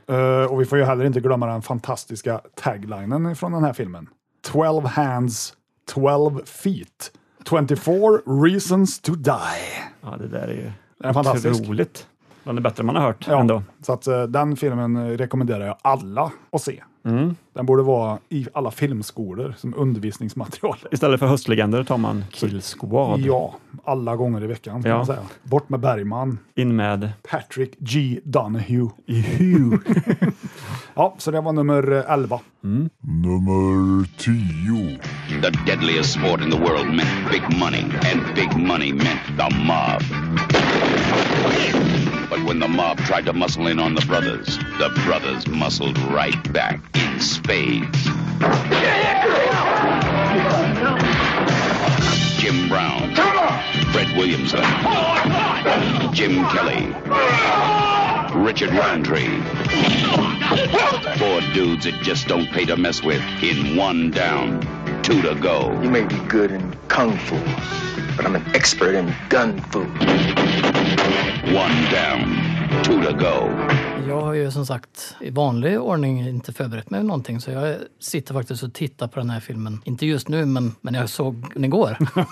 [SPEAKER 2] Eh, och vi får ju heller inte glömma den fantastiska taglinen från den här filmen. 12 hands, 12 feet, 24 reasons to die.
[SPEAKER 3] Ja, det där är ju
[SPEAKER 2] Den är fantastisk.
[SPEAKER 3] otroligt. Bland det bättre man har hört
[SPEAKER 2] Ja,
[SPEAKER 3] ändå.
[SPEAKER 2] Så att, eh, den filmen eh, rekommenderar jag alla att se.
[SPEAKER 4] Mm.
[SPEAKER 2] Den borde vara i alla filmskolor som undervisningsmaterial.
[SPEAKER 3] Istället för höstlegender tar man Kill Squad.
[SPEAKER 2] Ja, alla gånger i veckan kan
[SPEAKER 3] Ja.
[SPEAKER 2] man säga. Bort med Bergman.
[SPEAKER 3] In med...
[SPEAKER 2] Patrick G. Donahue. ja, så det var nummer eh, 11.
[SPEAKER 5] Nummer 10.
[SPEAKER 15] The deadliest sport in the world meant big money, and big money meant the mob. But when the mob tried to muscle in on the brothers, the brothers muscled right back in spades. Jim Brown, Fred Williamson, Jim Kelly, Richard Roundtree. Four dudes that just don't pay to mess with in one down, two to go.
[SPEAKER 16] You may be good in kung fu, but I'm an expert in gun fu.
[SPEAKER 15] One down, two to go.
[SPEAKER 4] Jag har ju som sagt i vanlig ordning inte förberett mig någonting så jag sitter faktiskt och tittar på den här filmen. Inte just nu men, men jag såg den igår.
[SPEAKER 2] ja.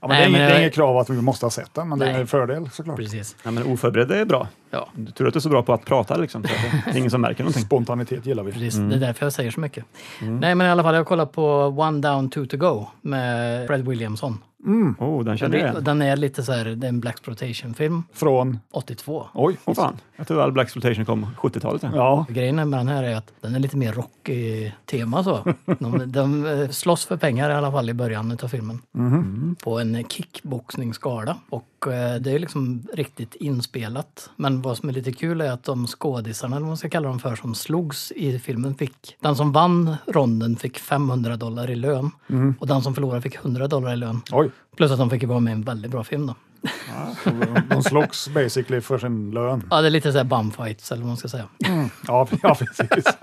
[SPEAKER 2] Ja, men det är, inget, det är inget krav att vi måste ha sett den, men det är en fördel såklart.
[SPEAKER 4] Precis.
[SPEAKER 3] Ja, men oförberedd är bra.
[SPEAKER 4] Ja.
[SPEAKER 3] Tur att du är så bra på att prata liksom. Så att det är ingen som märker någonting.
[SPEAKER 2] Spontanitet gillar vi.
[SPEAKER 4] Precis, Det är därför jag säger så mycket. Nej men i alla fall, jag kollar på One Down, Two To Go med Fred Williamson.
[SPEAKER 2] Mm.
[SPEAKER 3] Oh, den känner jag igen.
[SPEAKER 4] Den är lite så här, det är en Black Exploitation-film.
[SPEAKER 2] Från?
[SPEAKER 4] 82.
[SPEAKER 2] Oj,
[SPEAKER 3] åh fan. Jag trodde all Black Exploitation kom 70-talet. ja.
[SPEAKER 4] Grejen med den här är att den är lite mer rockig tema så. De, de eh, slåss för pengar i alla fall i början av filmen. På en kickboxningsgala. Och eh, det är liksom riktigt inspelat. Men vad som är lite kul är att de skådisarna, eller vad man ska kalla dem för, som slogs i filmen fick... Den som vann ronden fick 500 dollar i lön.
[SPEAKER 2] Mm.
[SPEAKER 4] Och den som förlorade fick 100 dollar i lön.
[SPEAKER 2] Oj.
[SPEAKER 4] Plus att de fick vara med i en väldigt bra film då.
[SPEAKER 2] Så de- De slogs basically för sin lön.
[SPEAKER 4] Ja, det är lite så här bumfights eller vad man ska säga.
[SPEAKER 2] Ja, ja precis.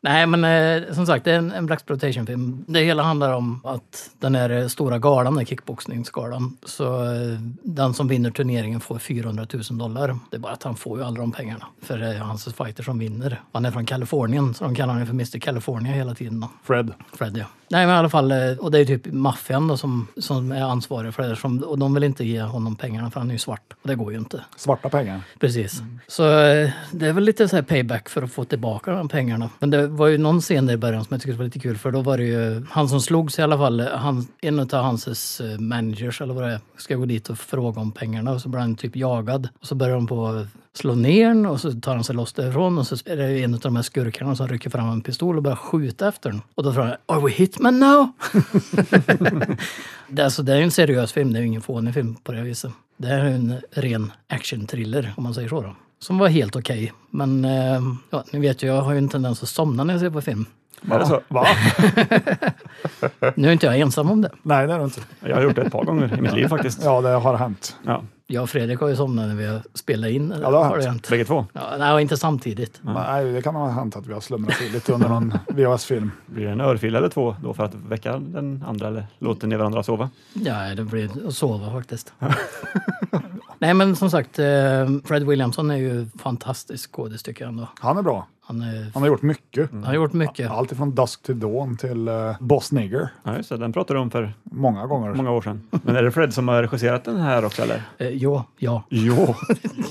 [SPEAKER 4] Nej, men eh, som sagt, det är en, en Black Exploitation-film. Det hela handlar om att den här eh, stora galan, den här kickboxningsgalan, så eh, den som vinner turneringen får 400 000 dollar. Det är bara att han får ju alla de pengarna. För det är ju hans fighter som vinner. Han är från Kalifornien, så de kallar honom för Mr California hela tiden. Då.
[SPEAKER 2] Fred.
[SPEAKER 4] Fred, ja. Nej, men i alla fall, eh, och det är typ maffian då som, som är ansvarig för det. Som, och de vill inte ge honom pengarna för han är ju svart. Och det går ju inte.
[SPEAKER 2] Svarta pengar.
[SPEAKER 4] Precis. Så eh, det är väl lite så här payback för att få tillbaka de pengarna. Men det var ju någon scen där i början som jag tyckte var lite kul för då var det ju han som slogs i alla fall, han, en av hans eh, managers eller vad det är, ska gå dit och fråga om pengarna och så blir han typ jagad. Och så börjar de på att slå ner den och så tar han sig loss därifrån och så är det en av de här skurkarna som rycker fram en pistol och börjar skjuta efter den. Och då frågar han “Are we hitmen now?” det, är alltså, det är ju en seriös film, det är ju ingen fånig film på det viset. Det här är en ren action-thriller, om man säger så. Då. Som var helt okej. Men eh, ja, ni vet ju, jag har ju en tendens att somna när jag ser på film.
[SPEAKER 3] Är det så?
[SPEAKER 2] Va?
[SPEAKER 4] nu är inte jag ensam om det.
[SPEAKER 2] Nej, det är du inte.
[SPEAKER 3] Jag har gjort det ett par gånger i mitt liv faktiskt.
[SPEAKER 2] Ja, det har hänt.
[SPEAKER 3] Ja.
[SPEAKER 4] Jag och Fredrik har ju somnat när vi har spelat in.
[SPEAKER 2] Ja, det har hänt.
[SPEAKER 3] Bägge två.
[SPEAKER 4] Ja, nej, inte samtidigt.
[SPEAKER 2] Nej, det kan ha hänt att vi har slumrat till lite under någon VHS-film.
[SPEAKER 3] Blir det en örfil eller två då för att väcka den andra eller låter ni varandra sova?
[SPEAKER 4] Ja, det blir att sova faktiskt. Nej, men som sagt, eh, Fred Williamson är ju fantastisk skådis tycker jag ändå.
[SPEAKER 2] Han är bra.
[SPEAKER 4] Han, är,
[SPEAKER 2] Han har gjort mycket.
[SPEAKER 4] Han har gjort mycket.
[SPEAKER 2] Allt ifrån Dusk till Dawn till eh, Boss Nigger.
[SPEAKER 3] Ja, just det. Den pratade du om för
[SPEAKER 2] Många gånger.
[SPEAKER 3] många år sedan. Men är det Fred som har regisserat den här också eller?
[SPEAKER 4] Eh, jo, ja.
[SPEAKER 3] Jo.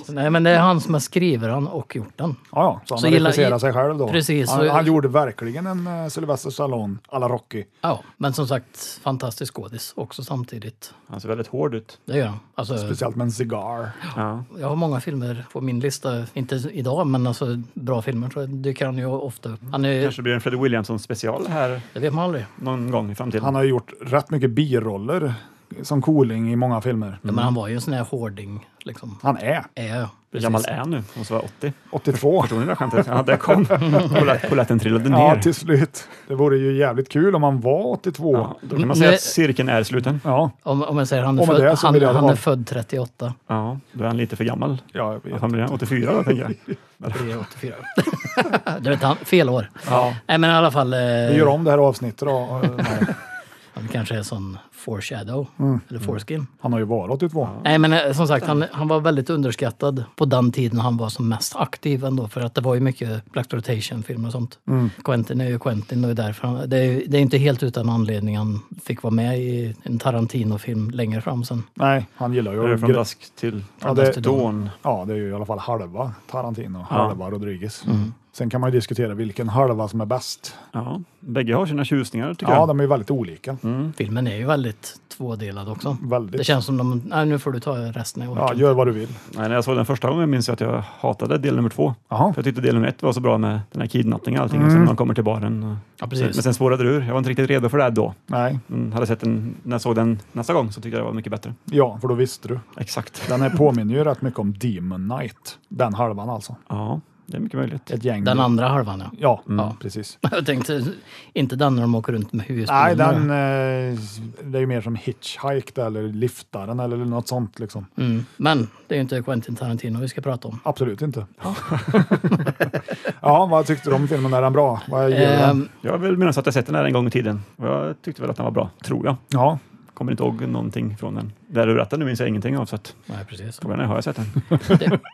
[SPEAKER 4] Nej, men det är han som har skrivit den och gjort den.
[SPEAKER 2] Ja, ja. Så han
[SPEAKER 4] Så
[SPEAKER 2] har
[SPEAKER 4] gillar-
[SPEAKER 2] regisserat sig själv då.
[SPEAKER 4] Precis.
[SPEAKER 2] Han,
[SPEAKER 4] Så-
[SPEAKER 2] han gjorde verkligen en eh, Sylvester Stallone alla Rocky.
[SPEAKER 4] Ja, men som sagt, fantastisk skådis också samtidigt.
[SPEAKER 3] Han ser väldigt hård ut.
[SPEAKER 4] Det gör han. Alltså,
[SPEAKER 2] Speciellt med en cigarr.
[SPEAKER 3] Ja.
[SPEAKER 4] Jag har många filmer på min lista, inte idag, men alltså bra filmer så dyker han ju ofta upp. Han är,
[SPEAKER 3] Kanske blir det en Fred Williamson special här
[SPEAKER 4] det vet man aldrig.
[SPEAKER 3] någon gång i framtiden.
[SPEAKER 2] Han har ju gjort rätt mycket biroller som cooling i många filmer.
[SPEAKER 3] Mm.
[SPEAKER 4] Ja, men han var ju en sån här hårding. Liksom.
[SPEAKER 2] Han är.
[SPEAKER 4] Är,
[SPEAKER 3] Hur gammal är han nu? Han måste vara 80.
[SPEAKER 2] 82.
[SPEAKER 3] Förstår ni det skämtet? Ja, där kom Polletten- polletten trillade ner.
[SPEAKER 2] Ja, till slut. Det vore ju jävligt kul om han var 82.
[SPEAKER 3] Då kan man säga att cirkeln är sluten.
[SPEAKER 2] Ja.
[SPEAKER 4] Om, om jag säger han är,
[SPEAKER 2] Och med
[SPEAKER 4] född,
[SPEAKER 2] det så
[SPEAKER 4] han,
[SPEAKER 2] vill jag
[SPEAKER 4] han
[SPEAKER 2] ha-
[SPEAKER 4] är född 38.
[SPEAKER 3] Ja, då är han lite för gammal.
[SPEAKER 2] Ja, jag vet.
[SPEAKER 3] Vad fan blir han? 84 då, tänker jag.
[SPEAKER 4] Det är 84. du vet, han, fel år.
[SPEAKER 2] Ja.
[SPEAKER 4] Nej, men i alla fall. eh,
[SPEAKER 2] Vi gör om det här avsnittet då. Eh, nej.
[SPEAKER 4] Han kanske är sån foreshadow, eller foreskin.
[SPEAKER 2] Han har ju varit ett vanligt.
[SPEAKER 4] Nej, men eh, som sagt, han, han var väldigt underskattad på den tiden han var som mest aktiv ändå, för att det var ju mycket Black filmer och sånt.
[SPEAKER 2] Mm.
[SPEAKER 4] Quentin är ju Quentin och därför han, det, är, ju- det är inte helt utan anledning han fick vara med i en Tarantino-film längre fram sen.
[SPEAKER 2] Nej, han gillar ju...
[SPEAKER 4] Det är från
[SPEAKER 2] gre-
[SPEAKER 4] dusk till-
[SPEAKER 2] ja,
[SPEAKER 4] Från
[SPEAKER 2] det,
[SPEAKER 4] dusk till dawn.
[SPEAKER 2] Ja, det är ju i alla fall halva Tarantino,
[SPEAKER 3] Ja.
[SPEAKER 2] halva Rodriguez.
[SPEAKER 3] Mm.
[SPEAKER 2] Sen kan man ju diskutera vilken halva som är bäst.
[SPEAKER 3] Ja, bägge har sina tjusningar tycker
[SPEAKER 2] Ja,
[SPEAKER 3] jag. Mm.
[SPEAKER 2] de är ju väldigt olika.
[SPEAKER 4] Filmen är ju väldigt tvådelad också.
[SPEAKER 2] Väldigt.
[SPEAKER 4] Det känns som de, nej nu får du ta resten, jag orkar
[SPEAKER 2] gör vad du vill.
[SPEAKER 3] Nej, när jag såg den första gången minns jag att jag hatade del nummer två. För jag tyckte del nummer ett var så bra med den här kidnappningen och allting. Och sen
[SPEAKER 2] Mm.
[SPEAKER 3] när de kommer till baren. och-
[SPEAKER 2] Ja, precis.
[SPEAKER 3] Men sen spårade det ur. Jag var inte riktigt redo för det här då.
[SPEAKER 2] Nej.
[SPEAKER 3] Mm, hade sett den, när jag såg den nästa gång så tyckte jag det var mycket bättre.
[SPEAKER 2] Ja, för då visste du.
[SPEAKER 3] Exakt.
[SPEAKER 2] Den här påminner ju rätt mycket om Demon Knight. Den halvan alltså.
[SPEAKER 3] Ja, det är mycket möjligt.
[SPEAKER 2] Ett gäng.
[SPEAKER 4] Den andra halvan ja.
[SPEAKER 2] Ja,
[SPEAKER 3] Mm.
[SPEAKER 2] precis.
[SPEAKER 4] Jag tänkte, inte den när de åker runt med
[SPEAKER 2] Nej,
[SPEAKER 4] husbilen.
[SPEAKER 3] Mm.
[SPEAKER 2] den, eh, det är ju mer som Hitchhike eller Liftaren eller något sånt. Liksom.
[SPEAKER 4] Mm. Men det är ju inte Quentin Tarantino vi ska prata om.
[SPEAKER 2] Absolut inte. Ja, vad tyckte du om filmen? Är den bra? Vad ger du
[SPEAKER 4] Ehm,
[SPEAKER 2] den?
[SPEAKER 3] Jag vill minnas att jag sett den här en gång i tiden. Och jag tyckte väl att den var bra, tror jag.
[SPEAKER 2] Ja.
[SPEAKER 3] Kommer inte ihåg någonting från den. Där du berättade nu minns jag ingenting av. Så att
[SPEAKER 4] Nej, precis.
[SPEAKER 3] frågan är, har jag sett den?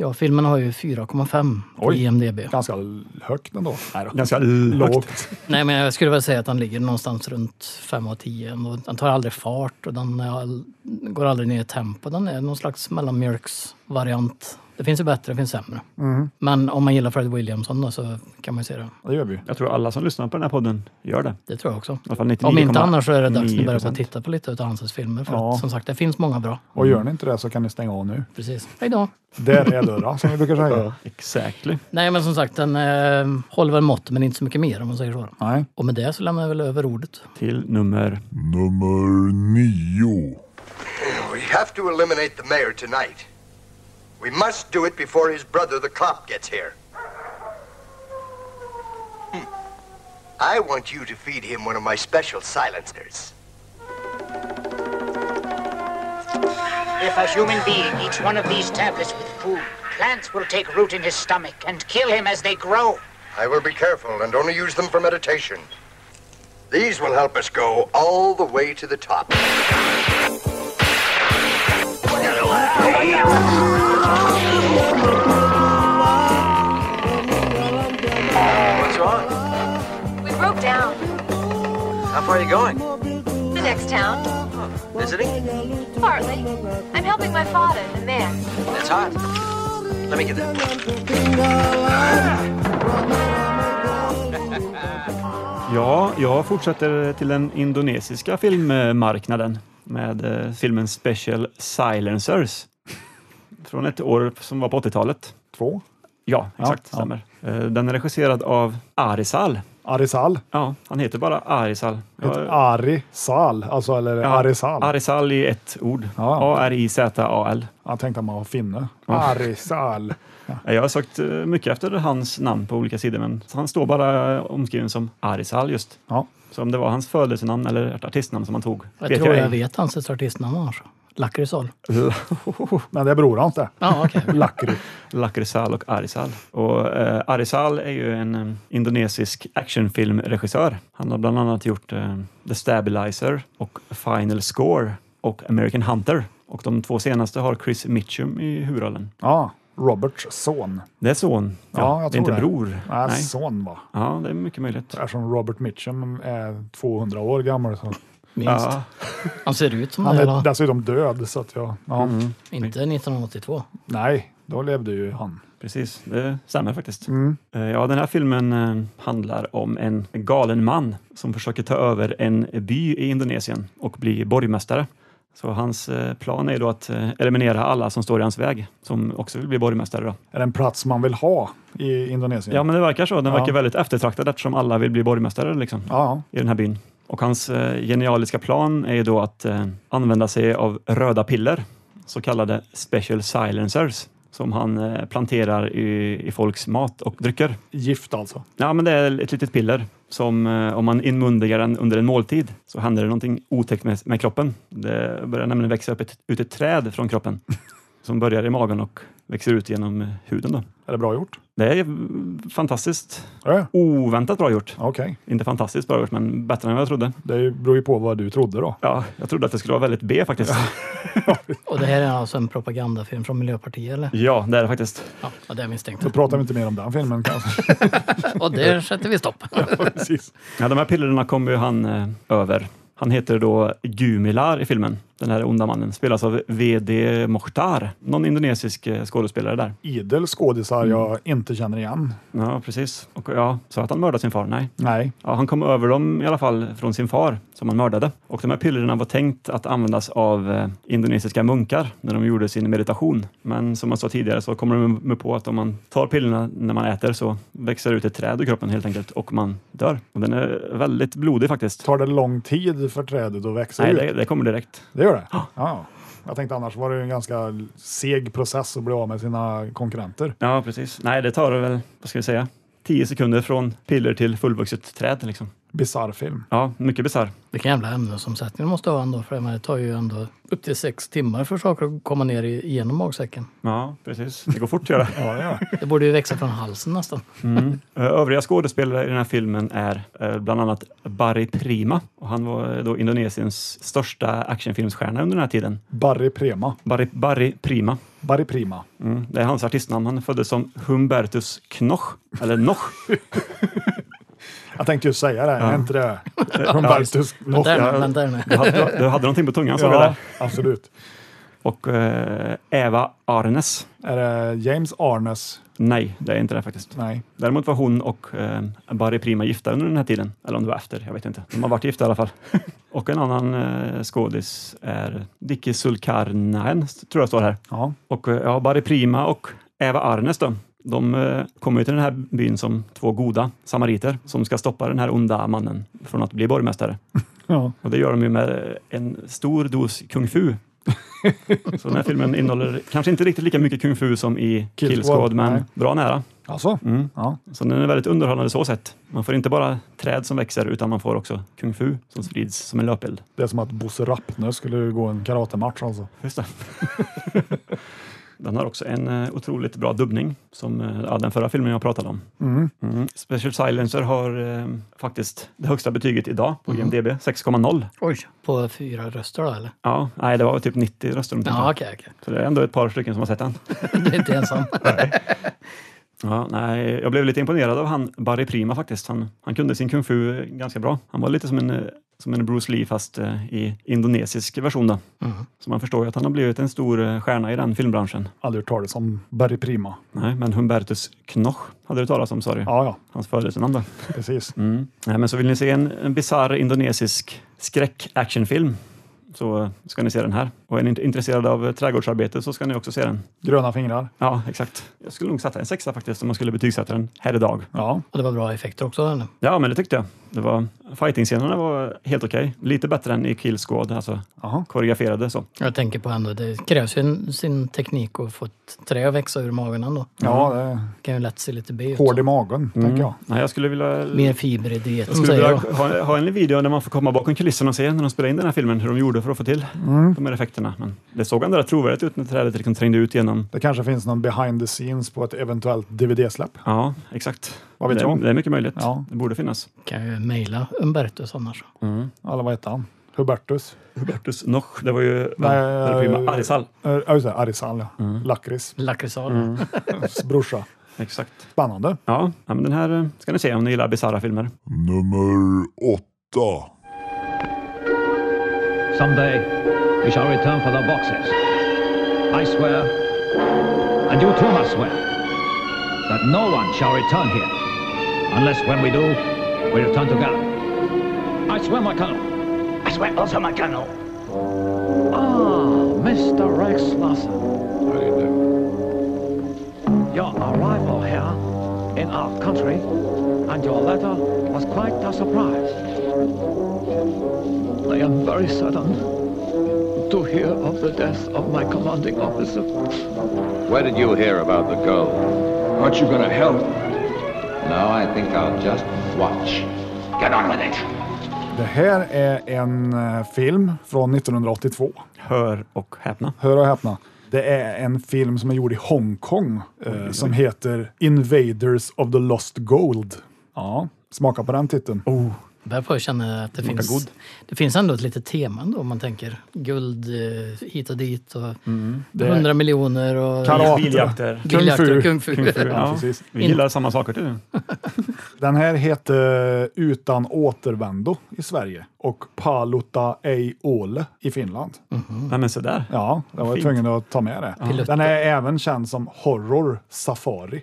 [SPEAKER 4] Ja, filmen har ju 4,5 på
[SPEAKER 3] Oj,
[SPEAKER 4] IMDB.
[SPEAKER 2] Ganska högt ändå. Nej då.
[SPEAKER 3] Ganska lågt.
[SPEAKER 4] Nej, men jag skulle väl säga att den ligger någonstans runt 5 av 10. Och Den tar aldrig fart och den är all, går aldrig ner i tempo. Den är någon slags mellanmjölksvariant. Det finns ju bättre, det finns sämre.
[SPEAKER 3] Mhm.
[SPEAKER 2] Mm.
[SPEAKER 4] Men om man gillar Fred Williamson då, så kan man ju se det.
[SPEAKER 2] Det gör vi.
[SPEAKER 3] Jag tror alla som lyssnar på den här podden gör det.
[SPEAKER 4] Det tror jag också. I
[SPEAKER 3] alla fall 99,
[SPEAKER 4] Om inte annars så är det dags att börja på att titta på lite av hans filmer. För
[SPEAKER 2] Ja.
[SPEAKER 4] att, som sagt, det finns många bra.
[SPEAKER 2] Och gör ni inte det så kan ni stänga av nu.
[SPEAKER 4] Precis. Hej då!
[SPEAKER 2] Där är dörren, som vi brukar säga.
[SPEAKER 3] Exactly.
[SPEAKER 4] Nej, men som sagt, den eh, håller väl mått, men inte så mycket mer om man säger så.
[SPEAKER 2] Nej.
[SPEAKER 4] Och med det så lämnar jag väl över ordet.
[SPEAKER 3] Till nummer...
[SPEAKER 5] Nummer nio.
[SPEAKER 16] We have to eliminate the mayor tonight. We must do it before his brother, the cop, gets here. Hmm. I want you to feed him one of my special silencers.
[SPEAKER 17] If a human being eats one of these tablets with food, plants will take root in his stomach and kill him as they grow.
[SPEAKER 16] I will be careful and only use them for meditation. These will help us go all the way to the top.
[SPEAKER 18] What's wrong?
[SPEAKER 19] We broke down.
[SPEAKER 18] How far are you going?
[SPEAKER 19] The next town.
[SPEAKER 18] Visiting?
[SPEAKER 19] Partly. I'm helping my father, the man.
[SPEAKER 18] That's hot. Let me get that.
[SPEAKER 3] Ja, jag fortsätter till den indonesiska filmmarknaden med eh, filmen Special Silencers. Från ett år som var på 80-talet.
[SPEAKER 2] Två?
[SPEAKER 3] Ja,
[SPEAKER 2] Ja,
[SPEAKER 3] exakt.
[SPEAKER 2] ja.
[SPEAKER 3] stämmer. Eh, Den är regisserad av Arisal.
[SPEAKER 2] Arisal?
[SPEAKER 3] Ja, han heter bara Arisal.
[SPEAKER 2] Ett
[SPEAKER 3] Jag-
[SPEAKER 2] Ari Sal, alltså eller Arisal.
[SPEAKER 3] Arisal i ett ord. A-R-I-Z-A-L.
[SPEAKER 2] Jag tänkte att man var finne.
[SPEAKER 3] Ja.
[SPEAKER 2] Arisal.
[SPEAKER 3] Jag har sökt eh, mycket efter hans namn på olika sidor, men han står bara eh, omskriven som Arisal just. Så om det var hans födelsenamn eller artistnamn som han tog.
[SPEAKER 4] Jag tror jag,
[SPEAKER 3] ej.
[SPEAKER 4] vet hans artistnamn annars. Lakritsal.
[SPEAKER 2] Men det är brorans det.
[SPEAKER 4] Ja, okej.
[SPEAKER 2] Lakri.
[SPEAKER 3] Lakrisal och Arisal. Och eh, Arisal är ju en eh, indonesisk actionfilmregissör. Han har bland annat gjort eh, The Stabilizer och Final Score och American Hunter. Och de två senaste har Chris Mitchum i huvudrollen.
[SPEAKER 2] Ja, Roberts son.
[SPEAKER 3] Det är son.
[SPEAKER 2] Ja, jag
[SPEAKER 3] det
[SPEAKER 2] tror
[SPEAKER 3] är inte
[SPEAKER 2] det.
[SPEAKER 3] bror.
[SPEAKER 2] Nej, son va?
[SPEAKER 3] Ja, det är mycket möjligt.
[SPEAKER 2] Eftersom Robert Mitchum är 200 år gammal. Så.
[SPEAKER 4] Minst.
[SPEAKER 3] Ja.
[SPEAKER 4] Han ser ut som
[SPEAKER 2] Han
[SPEAKER 4] det.
[SPEAKER 2] är
[SPEAKER 4] va?
[SPEAKER 2] dessutom död. Så att jag, ja.
[SPEAKER 3] Mm.
[SPEAKER 4] Inte 1982.
[SPEAKER 2] Nej, då levde ju han.
[SPEAKER 3] Precis, det stämmer faktiskt.
[SPEAKER 2] Mm.
[SPEAKER 3] Eh, Ja, den här filmen eh, handlar om en galen man som försöker ta över en by i Indonesien och bli borgmästare. Så hans eh, plan är då att eh, eliminera alla som står i hans väg, som också vill bli borgmästare. Då.
[SPEAKER 2] Är det en plats man vill ha i Indonesien?
[SPEAKER 3] Ja, men det verkar så. Den
[SPEAKER 2] Ja.
[SPEAKER 3] verkar väldigt eftertraktad eftersom alla vill bli borgmästare liksom,
[SPEAKER 2] Ja.
[SPEAKER 3] i den här byn. Och hans eh, genialiska plan är ju då att eh, använda sig av röda piller, så kallade special silencers, som han eh, planterar i, i folks mat och drycker.
[SPEAKER 2] Gift alltså?
[SPEAKER 3] Ja, men det är ett litet piller som eh, om man inmundigar den under en måltid så händer det någonting otäckt med, med kroppen. Det börjar nämligen växa upp ett, ut ett träd från kroppen som börjar i magen och växer ut genom eh, huden. Då.
[SPEAKER 2] Är det bra gjort?
[SPEAKER 3] Det är fantastiskt. Oväntat bra gjort. Inte fantastiskt bra gjort, men bättre än vad jag trodde.
[SPEAKER 2] Det beror ju på vad du trodde då.
[SPEAKER 3] Ja, jag trodde att det skulle vara väldigt B faktiskt.
[SPEAKER 4] Och det här är alltså en propagandafilm från Miljöpartiet eller?
[SPEAKER 3] Ja, det är det faktiskt.
[SPEAKER 4] Ja, ja det misstänkte
[SPEAKER 2] Då pratar vi inte mer om den filmen kanske.
[SPEAKER 4] Och där sätter vi stopp.
[SPEAKER 3] Ja, de här pillerna kommer ju han eh, över. Han heter då Gumilar i filmen. Den här onda mannen spelas av VD Mokhtar, någon indonesisk eh, skådespelare där.
[SPEAKER 2] Idel skådisar jag inte känner igen.
[SPEAKER 3] Ja, precis. Och ja, så att han mördade sin far? Nej.
[SPEAKER 2] Nej.
[SPEAKER 3] Ja, han kom över dem i alla fall från sin far som han mördade. Och de här pillerna var tänkt att användas av eh, indonesiska munkar när de gjorde sin meditation. Men som jag sa tidigare så kommer de med på att om man tar pillerna när man äter så växer det ut ett träd ur kroppen helt enkelt och man dör. Och den är väldigt blodig faktiskt.
[SPEAKER 2] Tar det lång tid för trädet att växa
[SPEAKER 3] Nej,
[SPEAKER 2] ut?
[SPEAKER 3] det, det kommer direkt.
[SPEAKER 2] Det gör det? Ja. Jag tänkte annars var det ju en ganska seg process att bli av med sina konkurrenter.
[SPEAKER 3] Ja, precis. Nej, det tar väl, vad ska vi säga, 10 sekunder från piller till fullvuxet träd. Liksom.
[SPEAKER 2] Bisarr film.
[SPEAKER 3] Ja, mycket bisarr.
[SPEAKER 4] Vilken jävla ämnesomsättning de måste ha ändå. För jag menar, det tar ju ändå upp till sex timmar för saker att komma ner i- igenom magsäcken.
[SPEAKER 3] Ja, precis. Det går fort att göra.
[SPEAKER 2] ja, det gör
[SPEAKER 4] Det borde ju växa från halsen nästan.
[SPEAKER 3] Mm. Eh, Övriga skådespelare i den här filmen är eh, bland annat Barry Prima. Och han var eh, då Indonesiens största actionfilmsstjärna under den här tiden.
[SPEAKER 2] Barry Prema.
[SPEAKER 3] Barry, Barry Prima.
[SPEAKER 2] Barry Prima.
[SPEAKER 3] Mm. Det är hans artistnamn. Han föddes som Humbertus Knoch, eller Noch.
[SPEAKER 2] Jag tänkte ju säga det, är
[SPEAKER 3] Ja.
[SPEAKER 2] inte det Humbertus
[SPEAKER 4] Vänta nu, vänta nu.
[SPEAKER 3] Du hade, du hade någonting på tungan såg jag
[SPEAKER 2] Ja,
[SPEAKER 3] där.
[SPEAKER 2] absolut.
[SPEAKER 3] Och eh, Eva Arnes.
[SPEAKER 2] Är det James Arnes?
[SPEAKER 3] Nej, det är inte det faktiskt.
[SPEAKER 2] Nej.
[SPEAKER 3] Däremot var hon och eh, Barry Prima gifta under den här tiden. Eller om det var efter, jag vet inte. De har varit gifta i alla fall. och en annan eh, skådis är Dicky Sulkarnaen, tror jag står här.
[SPEAKER 2] Ja.
[SPEAKER 3] Och eh, ja, Barry Prima och Eva Arnes då. De eh, kommer ju till den här byn som två goda samariter som ska stoppa den här onda mannen från att bli borgmästare.
[SPEAKER 2] Ja.
[SPEAKER 3] Och det gör de ju med eh, en stor dos kung fu. Så den här filmen innehåller kanske inte riktigt lika mycket kung fu som i
[SPEAKER 2] Kill
[SPEAKER 3] Kill,
[SPEAKER 2] Squad,
[SPEAKER 3] Squad, men
[SPEAKER 2] nej.
[SPEAKER 3] bra nära.
[SPEAKER 2] Alltså?
[SPEAKER 3] Mm.
[SPEAKER 2] Ja.
[SPEAKER 3] Så den är väldigt underhållande så sett. Man får inte bara träd som växer utan man får också kung fu som sprids som en löpeld.
[SPEAKER 2] Det är som att Bosse Rappne skulle gå en karatematch alltså.
[SPEAKER 3] Just det. Den har också en eh, otroligt bra dubbning som eh, ja, den förra filmen jag pratade om.
[SPEAKER 2] Mm.
[SPEAKER 3] Mm. Special Silencer har eh, faktiskt det högsta betyget idag på
[SPEAKER 4] Mm.
[SPEAKER 3] IMDB, 6,0.
[SPEAKER 4] Oj, på fyra röster då eller?
[SPEAKER 3] Ja, nej, det var väl typ 90 röster. de tittade.
[SPEAKER 4] Ja, okej, okej.
[SPEAKER 3] Så det är ändå ett par stycken som har sett den.
[SPEAKER 4] Du är inte ensam.
[SPEAKER 3] Ja, nej, jag blev lite imponerad av han Barry Prima faktiskt. Han, han kunde sin kung fu eh, ganska bra. Han var lite som en, eh, som en Bruce Lee fast eh, i indonesisk version. Då.
[SPEAKER 4] Mhm.
[SPEAKER 3] Så man förstår ju att han har blivit en stor eh, stjärna i den filmbranschen.
[SPEAKER 2] Aldrig hört talas om Barry Prima.
[SPEAKER 3] Nej, men Humbertus Knoch hade du talat om sa du?
[SPEAKER 2] Ja, ja,
[SPEAKER 3] Hans födelsenamn då.
[SPEAKER 2] precis.
[SPEAKER 3] Mm. Nej, men så vill ni se en, en bisarr indonesisk skräck-actionfilm så eh, ska ni se den här. Och är ni inte intresserade av eh, trädgårdsarbete så ska ni också se den.
[SPEAKER 2] Gröna fingrar.
[SPEAKER 3] Ja, exakt. Jag skulle nog sätta en sexa faktiskt om man skulle betygsätta den här idag.
[SPEAKER 2] Ja.
[SPEAKER 4] Och det var bra effekter också eller?
[SPEAKER 3] Ja, men det tyckte jag. Det var, fighting-scenerna var helt okej. Lite bättre än i Kill Squad, alltså koreograferade så.
[SPEAKER 4] Jag tänker på ändå, det krävs ju en, sin teknik att få ett trä att växa ur magen ändå.
[SPEAKER 2] Ja, Mm. det
[SPEAKER 4] kan ju lätt se lite B ut.
[SPEAKER 2] Hård i
[SPEAKER 4] så.
[SPEAKER 2] magen, tänker jag.
[SPEAKER 3] Mm. Nej, jag skulle vilja...
[SPEAKER 4] Mer fiber i
[SPEAKER 3] jag
[SPEAKER 4] dieten
[SPEAKER 3] skulle
[SPEAKER 4] säger
[SPEAKER 3] vilja
[SPEAKER 4] jag.
[SPEAKER 3] ha, ha en video där man får komma bakom kulisserna och se när de spelade in den här filmen hur de gjorde för att få till
[SPEAKER 2] Mm.
[SPEAKER 3] de här effekterna. Men det såg ändå rätt trovärdigt ut när trädet liksom trängde ut genom...
[SPEAKER 2] Det kanske finns någon behind the scenes på ett eventuellt DVD-släpp.
[SPEAKER 3] Ja, exakt.
[SPEAKER 2] Vad vet
[SPEAKER 3] det,
[SPEAKER 2] jag?
[SPEAKER 3] det är mycket möjligt.
[SPEAKER 2] Ja.
[SPEAKER 3] Det borde finnas.
[SPEAKER 4] Kan ju mejla Umbertus annars.
[SPEAKER 2] Eller vad hette han? Hubertus?
[SPEAKER 3] Hubertus Noch, det var ju...
[SPEAKER 2] Nej, eh,
[SPEAKER 3] Arisal.
[SPEAKER 2] eh, Ja, just det. Arisal, ja. Lakrits.
[SPEAKER 4] Lakritsal.
[SPEAKER 2] Mm. Brorsa.
[SPEAKER 3] Exakt.
[SPEAKER 2] Spännande.
[SPEAKER 3] Ja, ja, men den här eh, ska ni se om ni gillar bisarra filmer.
[SPEAKER 5] Nummer åtta.
[SPEAKER 20] Someday, we shall return for the boxes. I swear, and you too must swear, that no one shall return here, unless when we do, we return together. I swear, my colonel.
[SPEAKER 17] I swear also, my colonel.
[SPEAKER 20] Ah, Mr. Rex Lawson. How do you do? Your arrival here in our country and your letter was quite a surprise. I am very saddened to hear of the death of my commanding officer.
[SPEAKER 21] Where did you hear about the gold? Aren't you going to help? No, I think I'll just watch. Get on with it.
[SPEAKER 2] Det här är en eh, film från 1982.
[SPEAKER 3] Hör och häpna.
[SPEAKER 2] Hör och häpna. Det är en film som är gjord i Hongkong eh, som heter Invaders of the Lost Gold. Ja, smaka på den titeln.
[SPEAKER 4] Oh. Börjar på att känna att det
[SPEAKER 2] Smakar
[SPEAKER 4] finns,
[SPEAKER 2] god.
[SPEAKER 4] det finns ändå ett litet tema ändå om man tänker guld eh, hit och dit och
[SPEAKER 3] Mm. Det är-
[SPEAKER 4] 100 miljoner och
[SPEAKER 3] Karate. Biljakter.
[SPEAKER 4] biljakter och
[SPEAKER 3] Kung
[SPEAKER 4] kung fu.
[SPEAKER 3] fu. Kung fu, ja. Vi gillar samma saker du.
[SPEAKER 2] Mm. Den här hette Utan återvändo i Sverige och Paluta ei ole i Finland.
[SPEAKER 3] Nej men sådär.
[SPEAKER 2] Ja, jag var
[SPEAKER 3] Fint.
[SPEAKER 2] tvungen att ta med det.
[SPEAKER 3] Piloter.
[SPEAKER 2] Den är även känd som Horror Safari.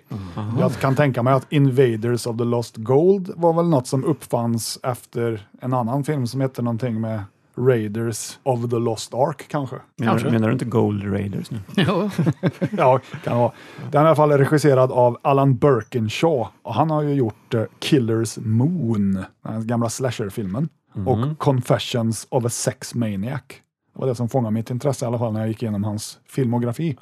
[SPEAKER 2] Jag kan tänka mig att Invaders of the Lost Gold var väl något som uppfanns efter en annan film som hette någonting med Raiders of the Lost Ark kanske.
[SPEAKER 3] Menar, du- menar du inte Gold Raiders nu?
[SPEAKER 4] Jo.
[SPEAKER 2] ja, kan vara. Den är i alla fall regisserad av Alan Birkinshaw och han har ju gjort eh, Killers Moon, den gamla slasherfilmen, och Confessions of a Sex Maniac. Det var det som fångade mitt intresse i alla fall när jag gick igenom hans filmografi.